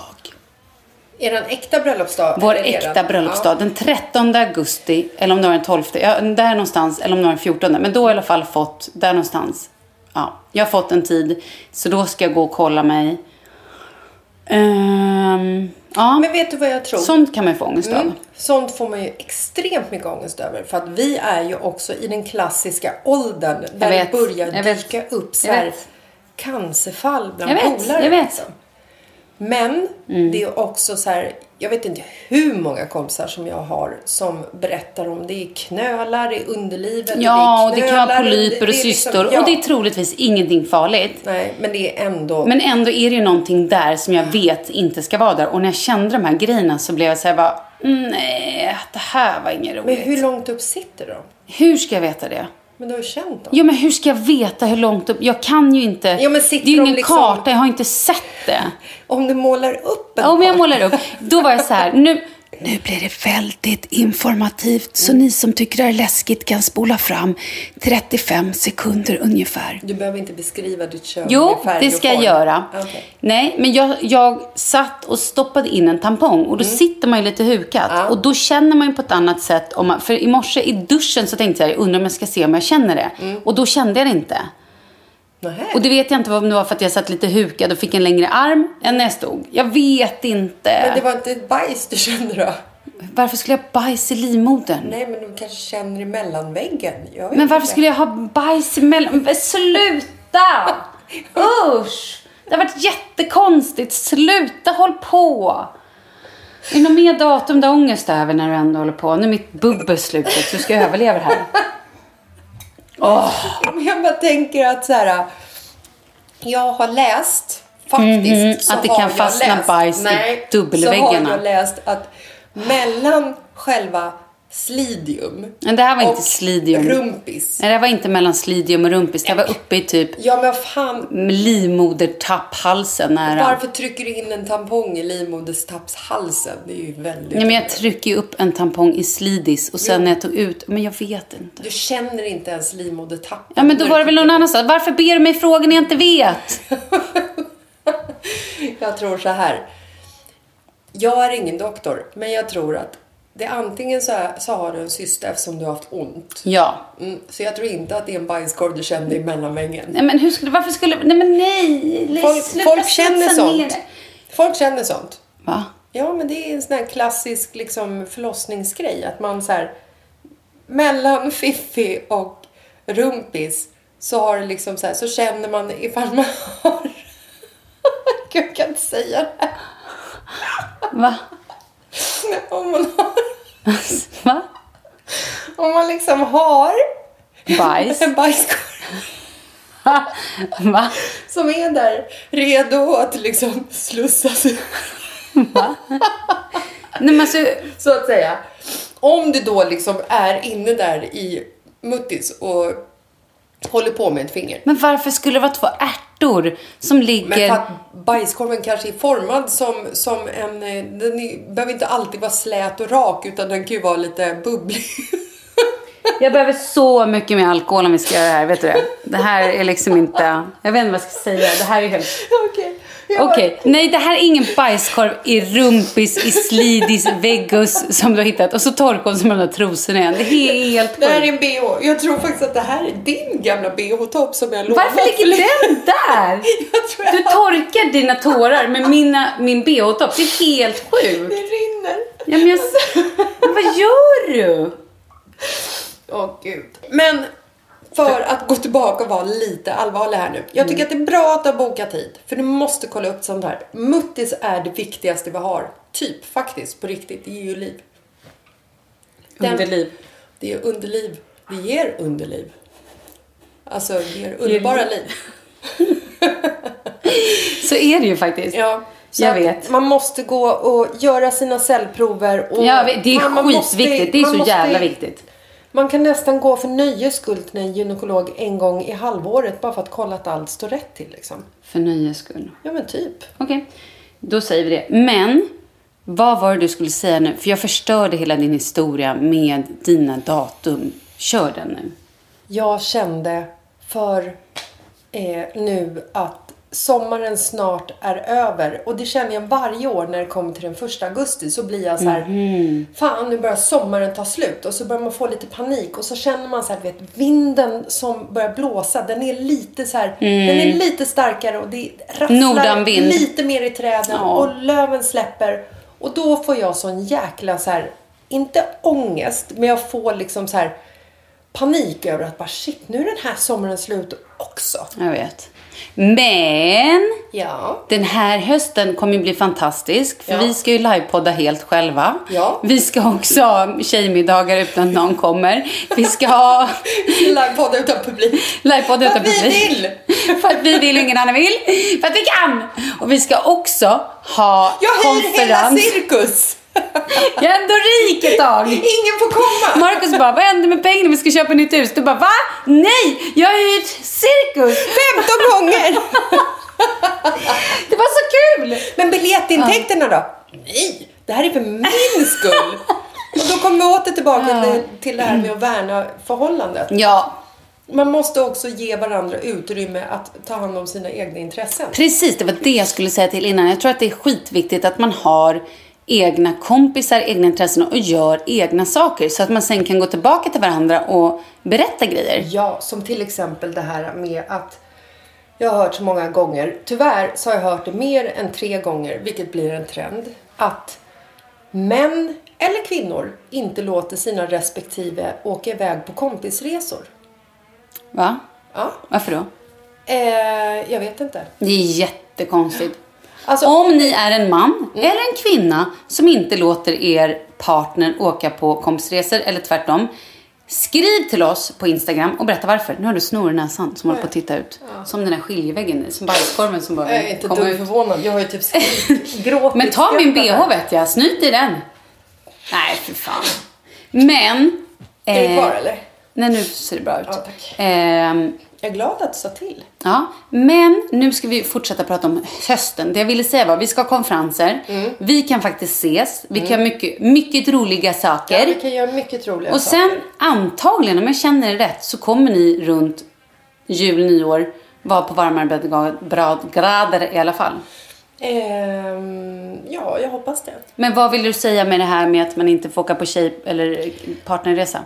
S2: Är det en äkta bröllopsdag?
S4: Vår
S2: Eller är det
S4: äkta
S2: en-
S4: bröllopsdag.
S2: Ja.
S4: Den 13 augusti, eller om det var den 12, ja, där någonstans, eller om det var den 14. Men då har jag i alla fall fått, där någonstans. Ja, jag har fått en tid. Så då ska jag gå och kolla mig. Ehm, ja,
S2: Men vet du vad jag tror?
S4: sånt kan man ju få ångest av.
S2: Mm. Sånt får man ju extremt mycket ångest över. För att vi är ju också i den klassiska åldern. Där
S4: vet,
S2: det börjar
S4: jag vet,
S2: dyka upp så
S4: jag
S2: här
S4: vet.
S2: cancerfall bland
S4: Jag vet,
S2: polare.
S4: jag vet. Mm.
S2: liksom. Men det är också så här. Jag vet inte hur många kompisar som jag har som berättar om det är knölar i underlivet.
S4: Ja, och
S2: det
S4: det
S2: är
S4: kan vara
S2: knölar,
S4: polyper
S2: det är
S4: och
S2: liksom-
S4: cystor.
S2: ja.
S4: Och det är troligtvis ingenting farligt.
S2: Nej, men det är ändå...
S4: Men ändå är det ju någonting där som jag vet inte ska vara där. Och när jag kände de här grejerna så blev jag så här bara, "Mm, nej, det här var inget
S2: men
S4: roligt.
S2: hur långt upp sitter de?
S4: hur ska jag veta det?
S2: Men du har ju känt dem.
S4: Jo men hur ska jag veta hur långt upp? Jag kan ju inte.
S2: Jo, men
S4: det är
S2: sitter
S4: ju
S2: de
S4: ingen
S2: liksom-
S4: karta, jag har inte sett det.
S2: Om du målar upp en
S4: Ja, men jag
S2: karta.
S4: målar upp. Då var jag så här, nu... Nu blir det väldigt informativt, så ni som tycker det är läskigt kan spola fram 35 sekunder ungefär.
S2: Du behöver inte beskriva ditt kön
S4: Jo,
S2: i färg
S4: det
S2: och
S4: ska jag
S2: form.
S4: göra.
S2: Okej.
S4: Nej, men jag, jag satt och stoppade in en tampong och då
S2: Mm.
S4: sitter man ju lite hukat. Och då känner man ju på ett annat sätt. Om man, för i morse i duschen så tänkte jag, jag undrar om jag ska se om jag känner det.
S2: Mm.
S4: Och då kände jag det inte.
S2: Nähä.
S4: Och det vet jag inte vad om det var för att jag satt lite hukad och fick en längre arm än när jag stod. Jag vet inte.
S2: Men det var inte ett bajs du kände då?
S4: Varför skulle jag ha bajs i livmodern?
S2: Nej, men de kanske känner i mellanväggen. Jag vet
S4: Men varför
S2: inte.
S4: skulle jag ha bajs emellan? Men Sluta! Usch! Det har varit jättekonstigt. Sluta håll på! Är det något mer datum du har ångest över när du ändå håller på? Nu är mitt bubbel slutet så du ska överleva det här.
S2: Men jag bara tänker att så här, jag har läst, faktiskt,
S4: Mhm,
S2: så
S4: att det
S2: har
S4: kan
S2: jag
S4: fastna
S2: läst,
S4: bajs i
S2: nej, så
S4: dubbelväggarna.
S2: har jag läst att mellan själva slidium
S4: Men det här var inte
S2: och
S4: slidium.
S2: rumpis.
S4: Nej, det här var inte mellan slidium och rumpis. Det var uppe i typ
S2: Ja, men fan,
S4: livmodertapphalsen nära.
S2: varför trycker du in en tampong i livmoderstappshalsen? Det är ju väldigt...
S4: Nej, men jag trycker ju upp en tampong i slidis och sen när jag tog ut... Men jag vet inte.
S2: Du känner inte ens livmodertappen.
S4: Ja, men då
S2: när
S4: var det
S2: du
S4: väl någon annanstans. Varför ber du mig frågor när jag inte vet?
S2: Jag tror så här. Jag är ingen doktor, men jag tror att det antingen så, är, så har du en cysta eftersom du har haft ont.
S4: Ja.
S2: Mm, så jag tror inte att det är en bajskorv du kände i mellanvängen.
S4: Nej, men hur skulle... Varför skulle... Nej, men nej! Li-
S2: Folk,
S4: sluta
S2: folk känner
S4: smutsa ner
S2: sånt.
S4: det.
S2: Folk känner sånt.
S4: Va?
S2: Ja, men det är en sån här klassisk liksom, förlossningsgrej. Att man så här, mellan fiffi och rumpis så, har det liksom så, här, så känner man ifall man har... Gud, jag kan inte säga det här.
S4: Va?
S2: Om man har...
S4: Va?
S2: Om man liksom har
S4: Bajs?
S2: en bajskorv
S4: Va?
S2: som är där redo att liksom slussas ut,
S4: Nej, men alltså...
S2: så att säga. Om du då liksom är inne där i muttis och håller på med ett finger.
S4: Men varför skulle det vara två ärtor som
S2: Men
S4: ligger...
S2: för att bajskorven kanske är formad som, som en... eh, Den är, behöver inte alltid vara slät och rak utan den kan ju vara lite bubblig.
S4: Jag behöver så mycket mer alkohol om vi ska göra det här, vet du det? Det här är liksom inte... Jag vet inte vad jag ska säga. Det här är helt...
S2: Okej. Jag-
S4: Okej, nej det här är ingen bajskorv i rumpis, i slidis, veggus som du har hittat. Och så torkon som de där trosorna igen. Det är helt
S2: Det här är
S4: sjukt.
S2: en bh. Jag tror faktiskt att det här är din gamla bh-topp som jag lovade.
S4: Varför ligger den där?
S2: Jag tror jag
S4: Du
S2: har-
S4: torkar dina tårar med mina, min bh-topp. Det är helt
S2: Det
S4: sjukt.
S2: rinner.
S4: Ja, men jag... Men Vad gör du?
S2: Åh gud. Men för att gå tillbaka och vara lite allvarlig här nu. Jag tycker
S4: Mm.
S2: att det är bra att du har bokat tid. För du måste kolla upp sånt här. Muttis är det viktigaste vi har. Typ faktiskt, på riktigt. Det ger ju liv. Den-
S4: Underliv.
S2: Det är underliv. Det ger underliv. Alltså, det ger underbara liv.
S4: Så är det ju faktiskt.
S2: Ja. Så
S4: Jag
S2: att
S4: vet.
S2: Man måste gå och göra sina cellprover. Och
S4: Ja, det är
S2: Fan, man måste-
S4: skitviktigt. Det är
S2: man
S4: så
S2: måste-
S4: jävla viktigt.
S2: Man kan nästan gå för nöjes skull till en gynekolog en gång i halvåret bara för att kolla att allt står rätt till. Liksom.
S4: För nöjes skull.
S2: Ja, men typ.
S4: Okej, då säger vi det. Men, vad var det du skulle säga nu? För jag förstörde hela din historia med dina datum. Kör den nu.
S2: Jag kände för eh, nu att sommaren snart är över. Och det känner jag varje år när det kommer till den första augusti. Så blir jag så här, fan nu börjar sommaren ta slut. Och så börjar man få lite panik. Och så känner man så här, vet, vinden som börjar blåsa. Den är lite så här, den är lite starkare. Och det rasslar
S4: Nordanvind.
S2: lite mer i träden.
S4: Ja.
S2: Och löven släpper. Och då får jag sån jäkla så här, inte ångest, men jag får liksom så här panik över att bara shit, nu är den här sommaren slut också.
S4: Jag vet. Men,
S2: Ja.
S4: den här hösten kommer ju bli fantastisk. För
S2: Ja.
S4: vi ska ju livepodda helt själva.
S2: Ja.
S4: Vi ska också ha tjejmiddagar utan att någon kommer. Vi ska ha
S2: Livepodd utan publik.
S4: livepodd
S2: För
S4: utan
S2: att vi
S4: publik.
S2: vill.
S4: För att vi vill och ingen annan vill. För att vi kan! Och vi ska också ha
S2: Jag hyr hela
S4: konferens.
S2: cirkus.
S4: Jag är ändå rik ett tag.
S2: Ingen får komma.
S4: Marcus bara, vad händer med pengarna? Vi ska köpa nytt hus. Du bara, va? Nej, jag har hyrt cirkus.
S2: 15 gånger.
S4: Det var så kul!
S2: Men biljettintäkterna då? Nej, det här är för min skull. Och då kommer vi åter tillbaka till, till det här med att värna förhållandet.
S4: Ja,
S2: Man måste också ge varandra utrymme att ta hand om sina egna intressen.
S4: precis. Det var det jag skulle säga till innan. Jag tror att det är skitviktigt att man har egna kompisar, egna intressen och gör egna saker. Så att man sen kan gå tillbaka till varandra och berätta grejer.
S2: Ja, som till exempel det här med att jag har hört så många gånger, tyvärr så har jag hört det mer än tre gånger, vilket blir en trend, att män Eller kvinnor inte låter sina respektive åka iväg på kompisresor.
S4: Va?
S2: Ja.
S4: Varför då?
S2: Eh, jag vet inte.
S4: Det är jättekonstigt.
S2: Alltså-
S4: om ni är en man
S2: Mm.
S4: eller en kvinna som inte låter er partner åka på kompisresor eller tvärtom. Skriv till oss på Instagram och berätta varför. Nu har du snor i näsan som håller på att titta ut. Som den där skiljeväggen i, som bajskorven som
S2: Jag är
S4: börjar
S2: inte
S4: komma
S2: dugg
S4: ut.
S2: förvånad. Jag har ju typ skrikit, gråtit.
S4: Men ta min bh
S2: skrattat.
S4: vet jag, snyt i den. Nej, för fan. Men...
S2: Är det
S4: eh,
S2: kvar eller?
S4: Nej, nu ser det bra ut.
S2: Ja, tack.
S4: Ehm,
S2: Jag är glad att du sa till.
S4: Ja, men nu ska vi fortsätta prata om hösten. Det jag ville säga var vi ska ha konferenser.
S2: Mm.
S4: Vi kan faktiskt ses. Vi kan mycket, mycket roliga
S2: Ja,
S4: saker.
S2: vi kan göra mycket roliga
S4: och sen
S2: saker.
S4: antagligen, om jag känner det rätt, så kommer ni runt jul, nyår vara på varmare breddgrad- brad- grader i alla fall.
S2: Ehm, ja, jag hoppas det.
S4: Men vad vill du säga med det här med att man inte får åka på tjej eller partnerresa?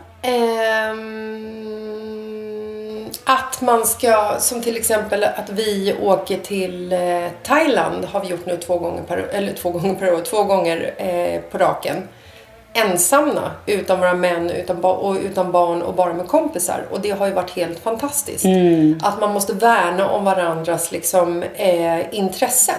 S2: Ehm, att man ska, som till exempel att vi åker till eh, Thailand har vi gjort nu två gånger per, eller två gånger per år, två gånger eh, på raken. Ensamma, utan våra män utan ba- och utan barn och bara med kompisar. Och det har ju varit helt fantastiskt.
S4: Mm.
S2: Att man måste värna om varandras liksom, eh, intressen.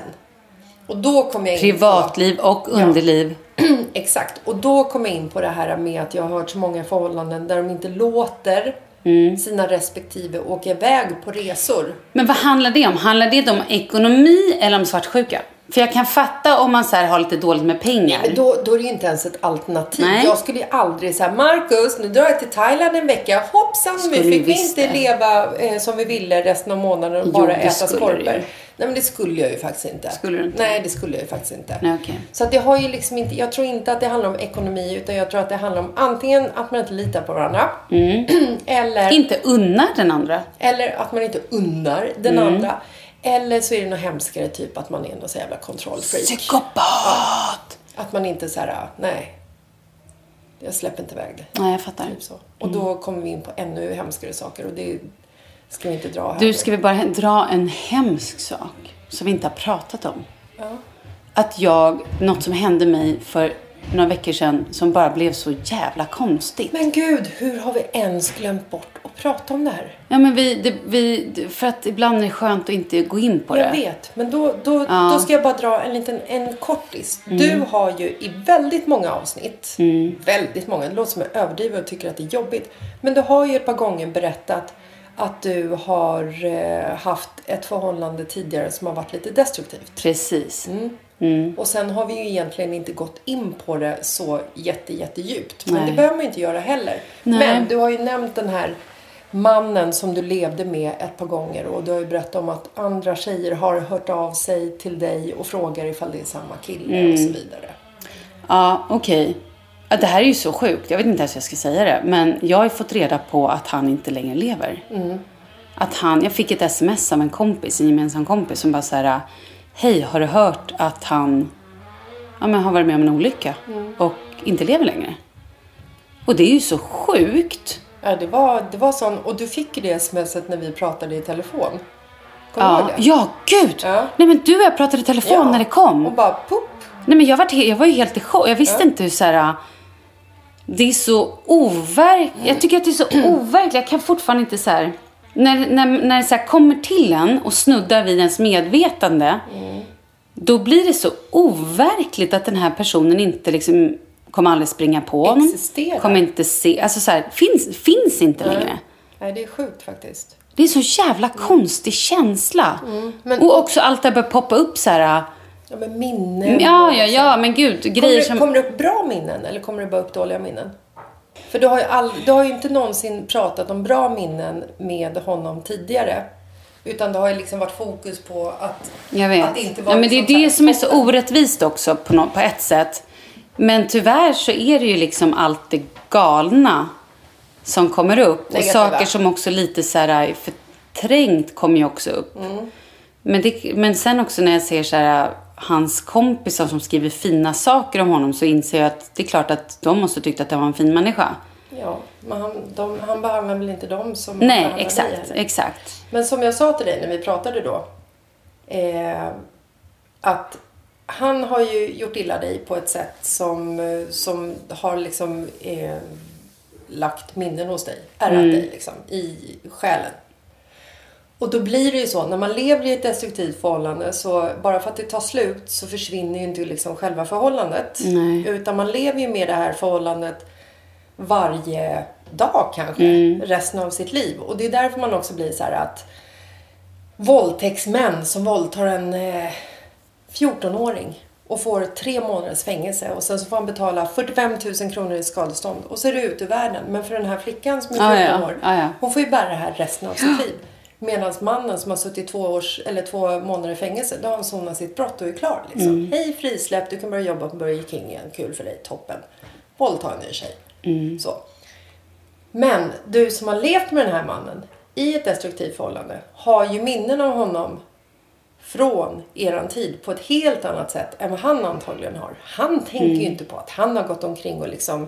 S2: Och då kom jag in på-
S4: Privatliv och underliv.
S2: Exakt. Och då kom jag in på det här med att jag har hört så många förhållanden där de inte låter
S4: Mm.
S2: sina respektive åka iväg på resor.
S4: Men vad handlar det om? Handlar det om ekonomi eller om svartsjuka? För jag kan fatta om man så här har lite dåligt med pengar.
S2: Men då, då är det ju inte ens ett alternativ.
S4: Nej.
S2: Jag skulle ju aldrig säga Marcus, nu drar jag till Thailand en vecka. Hoppsan,
S4: Skulle
S2: nu
S4: du
S2: fick vi
S4: visst
S2: inte
S4: det.
S2: leva eh, som vi ville resten av månaden och
S4: Jo,
S2: bara
S4: det
S2: äta
S4: skulle du ju.
S2: skorpor. Nej, men det skulle jag ju faktiskt inte.
S4: Skulle du inte?
S2: Nej, det skulle jag ju faktiskt inte.
S4: Nej, okej.
S2: Så att det har ju liksom inte, jag tror inte att det handlar om ekonomi utan jag tror att det handlar om antingen att man inte litar på varandra.
S4: Mm.
S2: eller...
S4: Inte unnar den andra.
S2: Eller att man inte unnar den
S4: Mm.
S2: andra. Eller så är det något hemskare typ att man är någon så jävla kontrollfreak.
S4: Psykopat!
S2: Att man inte så här, ah, nej. Jag släpper inte iväg det.
S4: Nej, Mm. jag fattar.
S2: Typ så. Och då kommer vi in på ännu hemskare saker och det ska vi inte dra här.
S4: Du, ska vi bara dra en hemsk sak som vi inte har pratat om? Att jag, något som hände mig för några veckor sedan som bara blev så jävla konstigt.
S2: Men gud, hur har vi ens glömt bort att prata om det här?
S4: Ja, men vi, det, vi, det- för att ibland är det skönt att inte gå in på
S2: Jag
S4: det.
S2: vet, men då, då, då ska jag bara dra en liten en kortis.
S4: Mm.
S2: Du har ju i väldigt många avsnitt, väldigt många, det låter som jag överdriver och tycker att det är jobbigt. Men du har ju ett par gånger berättat att du har eh, haft ett förhållande tidigare som har varit lite destruktivt.
S4: Precis.
S2: Mm. Och sen har vi ju egentligen inte gått in på det så jätte, jättedjupt. Men
S4: Nej.
S2: det behöver man ju inte göra heller.
S4: Nej.
S2: Men du har ju nämnt den här mannen som du levde med ett par gånger och du har ju berättat om att andra tjejer har hört av sig till dig och frågar ifall det är samma kille och så
S4: Mm.
S2: vidare.
S4: Ja, okej. Ja, Det här är ju så sjukt. Jag vet inte ens hur jag ska säga det. Men jag har ju fått reda på att han inte längre lever.
S2: Mm.
S4: Att han, jag fick ett sms av en kompis, en gemensam kompis som bara så här. Hej, har du hört att han ja, men har varit med om en olycka
S2: Mm.
S4: och inte lever längre? Och det är ju så sjukt.
S2: Ja, det var, det var sån, och du fick ju det smset när vi pratade i telefon. Kommer du
S4: Ja,
S2: ihåg det?
S4: ja gud!
S2: Ja.
S4: Nej men du och jag pratade i telefon
S2: Ja.
S4: när det kom.
S2: Och bara pop!
S4: Nej, men jag, var jag var ju helt i chock. Jag visste inte hur så här... äh, Det är så overkligt. Jag tycker att det är så overkligt. Jag kan fortfarande inte så här... När, när, när det så här kommer till en och snuddar vid ens medvetande.
S2: Mm.
S4: Då blir det så overkligt att den här personen inte liksom kommer aldrig springa på honom.
S2: Existerar.
S4: Kommer inte se. Alltså så här, finns, finns inte längre.
S2: Nej, det är sjukt faktiskt.
S4: Det är en så jävla konstig känsla.
S2: Mm. men-
S4: Och också allt det här börjar poppa upp så här. äh,
S2: Ja, men minnen.
S4: Mm, Ja, ja, ja, men gud.
S2: Kommer
S4: Grejer
S2: det,
S4: som...
S2: kommer det upp bra minnen eller kommer det bara upp dåliga minnen? För du har, ju all, du har ju inte någonsin pratat om bra minnen med honom tidigare. Utan det har ju liksom varit fokus på att,
S4: Jag vet.
S2: att det inte var
S4: ja, men det är
S2: liksom
S4: det
S2: så
S4: som är
S2: här
S4: så
S2: toppen.
S4: orättvist också på, nå- på ett sätt. Men tyvärr så är det ju liksom allt det galna som kommer upp.
S2: Negativa.
S4: Och saker som också lite så här är förträngt kommer ju också upp.
S2: Mm.
S4: Men, det, men sen också när jag ser så här eh, hans kompisar som skriver fina saker om honom så inser jag att det är klart att de måste tyckt att han var en fin människa.
S2: Ja, men han, de, han behandlar väl inte dem som han
S4: Nej,
S2: behandlar dig
S4: exakt,
S2: heller.
S4: exakt.
S2: Men som jag sa till dig när vi pratade då. Eh, att han har ju gjort illa dig på ett sätt som, eh, som har liksom eh, lagt minnen hos dig. Ärrat dig liksom i själen. Och då blir det ju så, när man lever i ett destruktivt förhållande så bara för att det tar slut så försvinner ju inte liksom själva förhållandet. Utan man lever ju med det här förhållandet varje dag kanske, resten av sitt liv. Och det är därför man också blir så här att våldtäktsmän som våldtar en eh, 14-åring och får tre månaders fängelse och sen så får han betala 45 000 kronor i skadestånd och så är det ut ur världen. Men för den här flickan som är
S4: Ja,
S2: 14
S4: ja.
S2: år,
S4: Ja, ja.
S2: hon får ju bära det här resten av sitt liv. Medan mannen som har suttit två, års, eller två månader i fängelse, då har han sonat sitt brott och är klar. Liksom.
S4: Mm.
S2: Hej frisläpp, du kan börja jobba på Burger King igen, kul för dig, toppen. Våldta en ny tjej.
S4: Mm.
S2: Så. Men du som har levt med den här mannen i ett destruktivt förhållande har ju minnen av honom från eran tid på ett helt annat sätt än vad han antagligen har. Han tänker ju
S4: Mm.
S2: inte på att han har gått omkring och liksom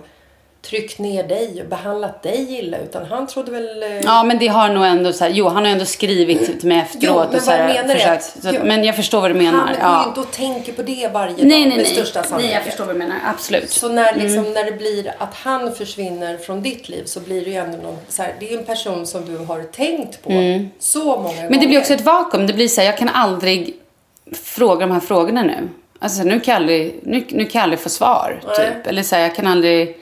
S2: tryckt ner dig och behandlat dig illa utan han trodde väl... eh,
S4: Ja, men det har nog ändå så här, jo, han har ju ändå skrivit till mig efteråt
S2: men
S4: och så
S2: vad jag
S4: här,
S2: menar är
S4: försökt.
S2: att-
S4: Så att,
S2: Jo.
S4: men jag förstår vad du menar.
S2: Han går
S4: ja.
S2: ju inte och tänker på det varje dag
S4: nej, nej,
S2: med
S4: nej.
S2: största
S4: nej,
S2: sannolikhet.
S4: jag förstår Mm. vad du menar. Absolut.
S2: Så när, liksom, när det blir att han försvinner från ditt liv så blir det ju ändå någon, så här, det är ju en person som du har tänkt på så många gånger.
S4: Mm. Men det blir också ett vakuum. Det blir så här, jag kan aldrig fråga de här frågorna nu. Alltså nu kan jag aldrig, nu, nu kan jag aldrig få svar. Typ. Eller så här, jag kan aldrig...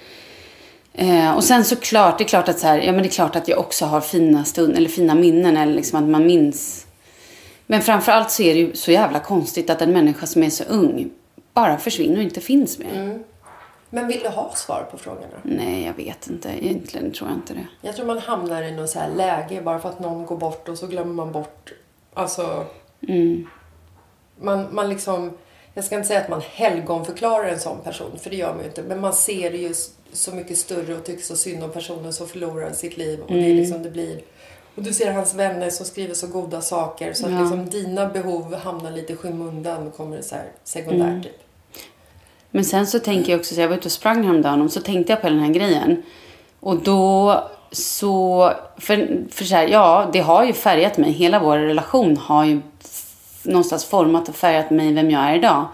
S4: Eh, och sen såklart, det är klart att så här, ja men det är klart att jag också har fina stund, eller fina minnen eller liksom att man minns. Men framförallt så är det ju så jävla konstigt att en människa som är så ung bara försvinner och inte finns mer.
S2: Men vill du ha svar på frågorna?
S4: Nej, jag vet inte. Egentligen tror jag inte det.
S2: Jag tror man hamnar i någon så här läge bara för att någon går bort och så glömmer man bort. Alltså... Man, man liksom... Jag ska inte säga att man helgonförklarar en sån person, för det gör man ju inte. Men man ser det ju s- så mycket större och tycker så synd om personen som förlorar sitt liv. Och det är liksom det blir... Och du ser hans vänner som skriver så goda saker så att liksom dina behov hamnar lite i skymundan och kommer så här sekundärt typ.
S4: Men sen så tänker jag också, så jag var ute och sprang häromdagen och så tänkte jag på den här grejen. Och då så, för, för så här, ja det har ju färgat mig. Hela vår relation har ju f- någonstans format och färgat mig vem jag är idag.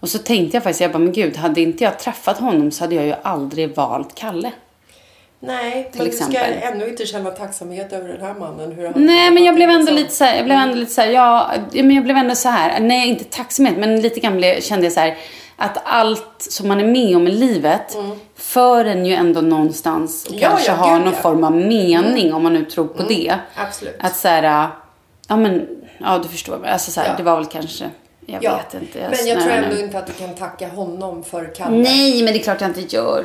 S4: Och så tänkte jag faktiskt, jag bara men gud, hade inte jag träffat honom så hade jag ju aldrig valt Kalle.
S2: Nej,
S4: Till
S2: men du ska
S4: exempel.
S2: ännu inte känna tacksamhet över den här mannen. Hur han
S4: Nej, men jag blev ändå
S2: liksom-
S4: lite så här, jag blev ändå lite så här, ja, ja, men jag blev ändå så här, nej inte tacksamhet, men lite grann blev, kände jag så här att allt som man är med om i livet för en ju ändå någonstans och
S2: Mm. Ja,
S4: kanske
S2: ja,
S4: har
S2: gud,
S4: någon
S2: ja. Mm.
S4: form av mening om man nu tror på det.
S2: absolut.
S4: Att så här, ja men, ja du förstår, mig. alltså så här,
S2: Ja.
S4: det var väl kanske, jag vet inte.
S2: men jag tror
S4: snarare nu.
S2: ändå inte att du kan tacka honom för Kalle.
S4: Nej, men det är klart jag inte gör.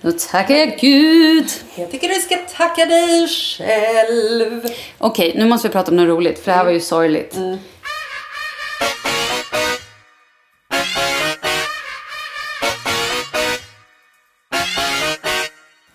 S4: Då tackar jag Gud.
S2: Jag tycker du ska tacka dig själv.
S4: Okej, nu måste vi prata om något roligt, för det här var ju sorgligt.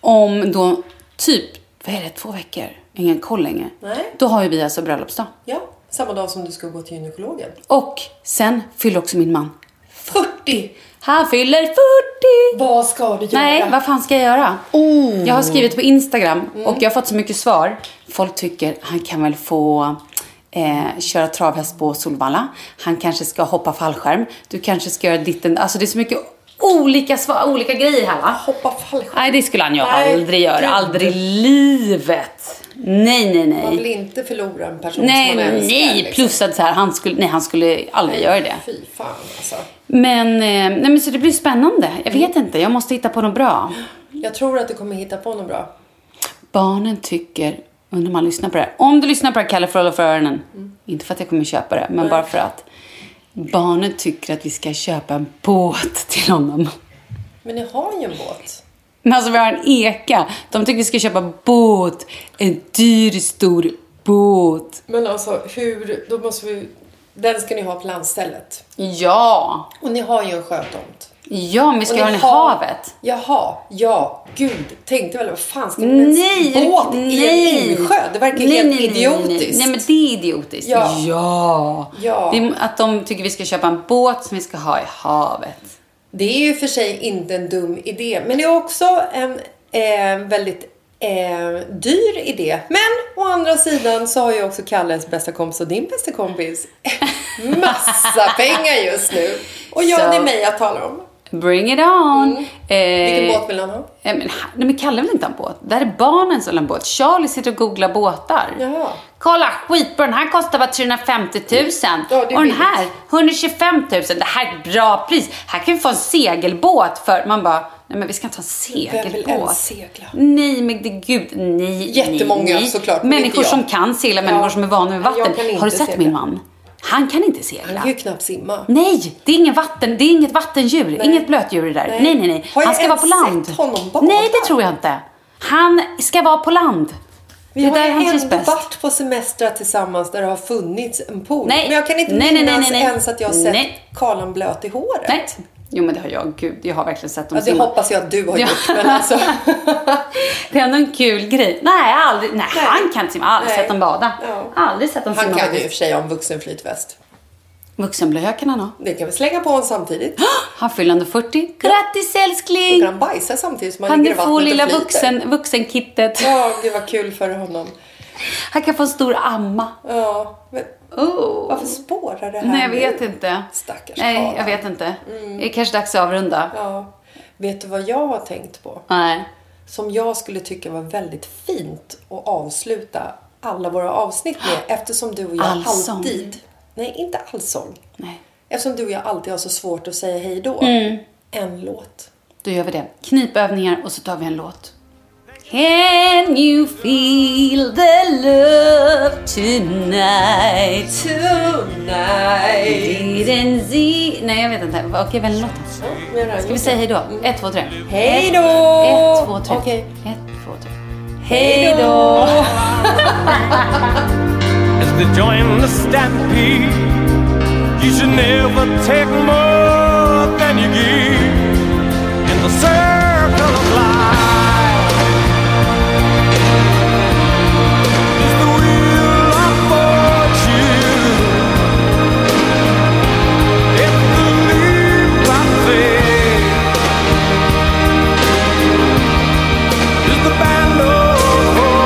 S4: Om då typ, vad är det, två veckor? Ingen koll längre.
S2: Nej.
S4: Då har ju vi alltså bröllopsdag.
S2: Ja, samma dag som du ska gå till gynekologen.
S4: Och sen fyller också min man.
S2: 40!
S4: Han fyller 40!
S2: Vad ska du göra?
S4: Nej, vad fan ska jag göra?
S2: Oh.
S4: Jag har skrivit på Instagram och jag har fått så mycket svar. Folk tycker han kan väl få eh, köra travhäst på Solvalla. Han kanske ska hoppa fallskärm. Du kanske ska göra ditten. Alltså det är så mycket olika svar, olika grejer här va?
S2: Hoppa fallskärm.
S4: Nej, det skulle han ju
S2: Nej,
S4: aldrig göra.
S2: gud.
S4: Aldrig i livet. Nej, nej,
S2: Man
S4: nej.
S2: vill inte förlora en person
S4: Nej,
S2: som man älskar.
S4: nej.
S2: liksom.
S4: Plus att så här, han skulle, nej, han skulle aldrig göra det.
S2: Fy fan alltså.
S4: Men, eh, nej men så det blir spännande. Jag vet inte, jag måste hitta på något bra.
S2: Jag tror att du kommer hitta på något bra.
S4: Barnen tycker, undrar om man lyssnar på det här. Om du lyssnar på det här, Kalle för alla för öronen.
S2: Mm.
S4: Inte för att jag kommer köpa det, men bara för att. Barnen tycker att vi ska köpa en båt till honom.
S2: Men ni har ju en båt.
S4: Men alltså vi har en eka. De tycker vi ska köpa båt. En dyr, stor båt.
S2: Men alltså hur, då måste vi, den ska ni ha på landstället.
S4: Ja!
S2: Och ni har ju en sjötomt.
S4: Ja, men vi ska
S2: Och
S4: ha den
S2: ni
S4: i
S2: har-
S4: havet.
S2: Jaha, ja, gud. Tänkte väl, vad fan ska man med
S4: Nej!
S2: en båt i en insjö? Det verkar
S4: nej,
S2: helt
S4: nej, nej,
S2: idiotiskt.
S4: Nej, nej. nej, men det är idiotiskt.
S2: Ja.
S4: ja.
S2: Ja.
S4: Det är, att de tycker vi ska köpa en båt som vi ska ha i havet.
S2: Det är ju för sig inte en dum idé, men det är också en eh, väldigt eh, dyr idé. Men å andra sidan så har ju också Kalles bästa kompis och din bästa kompis Massa pengar just nu. Och
S4: Så-
S2: jag det är mig jag talar om.
S4: Bring it on! Eh,
S2: Mm. Vilken båt vill han ha?
S4: Eh, men, ha- nej, men Kalle vill inte ha en båt. Där är barnen som vill ha en båt. Charlie sitter och googlar båtar.
S2: Jaha.
S4: Kolla, skitbra. Den här kostar bara 350 000.
S2: det är
S4: och den
S2: billigt.
S4: här, 125 000. Det här är ett bra pris. Här kan vi få en segelbåt för... Man bara, nej men vi ska inte ha en
S2: Vem
S4: segelbåt.
S2: vill ens segla?
S4: Nej, men det, gud, nej,
S2: Jättemånga,
S4: nej, nej.
S2: såklart, men inte
S4: Människor
S2: jag.
S4: som kan segla,
S2: Ja.
S4: människor som är vana med
S2: Jag
S4: vatten.
S2: kan
S4: Har du
S2: inte
S4: sett
S2: segla.
S4: min man? Han kan inte segla.
S2: Han kan ju knappt simma.
S4: Nej, det är, ingen vatten, det är inget vattendjur. Inget blötdjur i det där. Nej,
S2: Nej.
S4: nej, nej.
S2: Har jag
S4: Han ska vara
S2: ens
S4: på land.
S2: sett honom bada?
S4: nej, det tror jag inte. Han ska vara på land.
S2: Vi
S4: det är
S2: har
S4: där
S2: ju
S4: han trivs
S2: ändå
S4: bäst.
S2: varit på semestrar tillsammans där det har funnits en pool.
S4: Nej.
S2: Men jag kan inte
S4: Nej, nej,
S2: minnas
S4: nej, nej, nej.
S2: ens att jag har sett
S4: Nej.
S2: Karlan blöt i håret.
S4: Nej. Jo, men det har jag. Gud, jag har verkligen sett dem
S2: Ja, det
S4: simma.
S2: hoppas jag att du har
S4: Ja.
S2: gjort. Men alltså,
S4: Det är ändå en kul grej. Nej, jag har aldrig, nej, han kan inte simma. Jag har Aldrig
S2: Nej.
S4: sett dem bada.
S2: Ja.
S4: Aldrig sett dem
S2: han
S4: simma.
S2: kan ju i och
S4: faktiskt.
S2: för sig ha en vuxenflytväst.
S4: Vuxenblöja kan han ha.
S2: Det kan vi slänga på honom samtidigt.
S4: Han fyller ändå 40. Grattis
S2: Då
S4: älskling!
S2: kan han bajsa samtidigt som han,
S4: Han
S2: ligger i
S4: får
S2: vattnet
S4: lilla
S2: och flyter.
S4: vuxen, vuxenkittet.
S2: Ja, gud vad kul för honom.
S4: Han kan få en stor amma.
S2: Ja, men
S4: Oh.
S2: varför spårar det här
S4: Nej, jag vet
S2: nu?
S4: inte.
S2: Stackars
S4: Nej,
S2: Karlan.
S4: jag vet inte. Det är kanske dags att avrunda.
S2: Ja. Vet du vad jag har tänkt på?
S4: Nej.
S2: Som jag skulle tycka var väldigt fint att avsluta alla våra avsnitt med eftersom du och jag
S4: Allsång.
S2: alltid... Nej, inte allsång.
S4: Nej.
S2: Eftersom du och jag alltid har så svårt att säga hej då. En låt.
S4: Då gör vi det. Knipövningar och så tar vi en låt. Can you feel the love tonight?
S2: Tonight.
S4: Didn't see... Nej, jag vet inte. Okej, välj en låt. Ska vi säga hej då? Ett, två, tre.
S2: Mm. Hej då!
S4: Ett, två, tre.
S2: Okej.
S4: Ett, två, tre. Hej då!
S6: As they join the stampede, you should never take more than you give in the circle of life. It's the wheel of fortune. It's the leap of faith. It's the band of hope.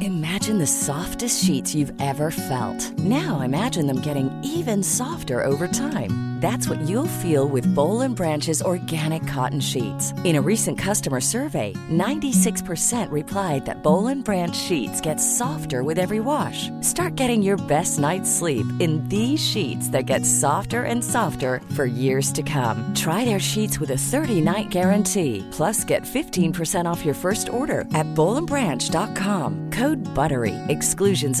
S1: Imagine the softest sheets you've ever felt. Now imagine them getting even softer over time. That's what you'll feel with Bowl and Branch's organic cotton sheets. In a recent customer survey, 96% replied that Bowl and Branch sheets get softer with every wash. Start getting your best night's sleep in these sheets that get softer and softer for years to come. Try their sheets with a 30-night guarantee. Plus, get 15% off your first order at bowlandbranch.com. Code BUTTERY. Exclusions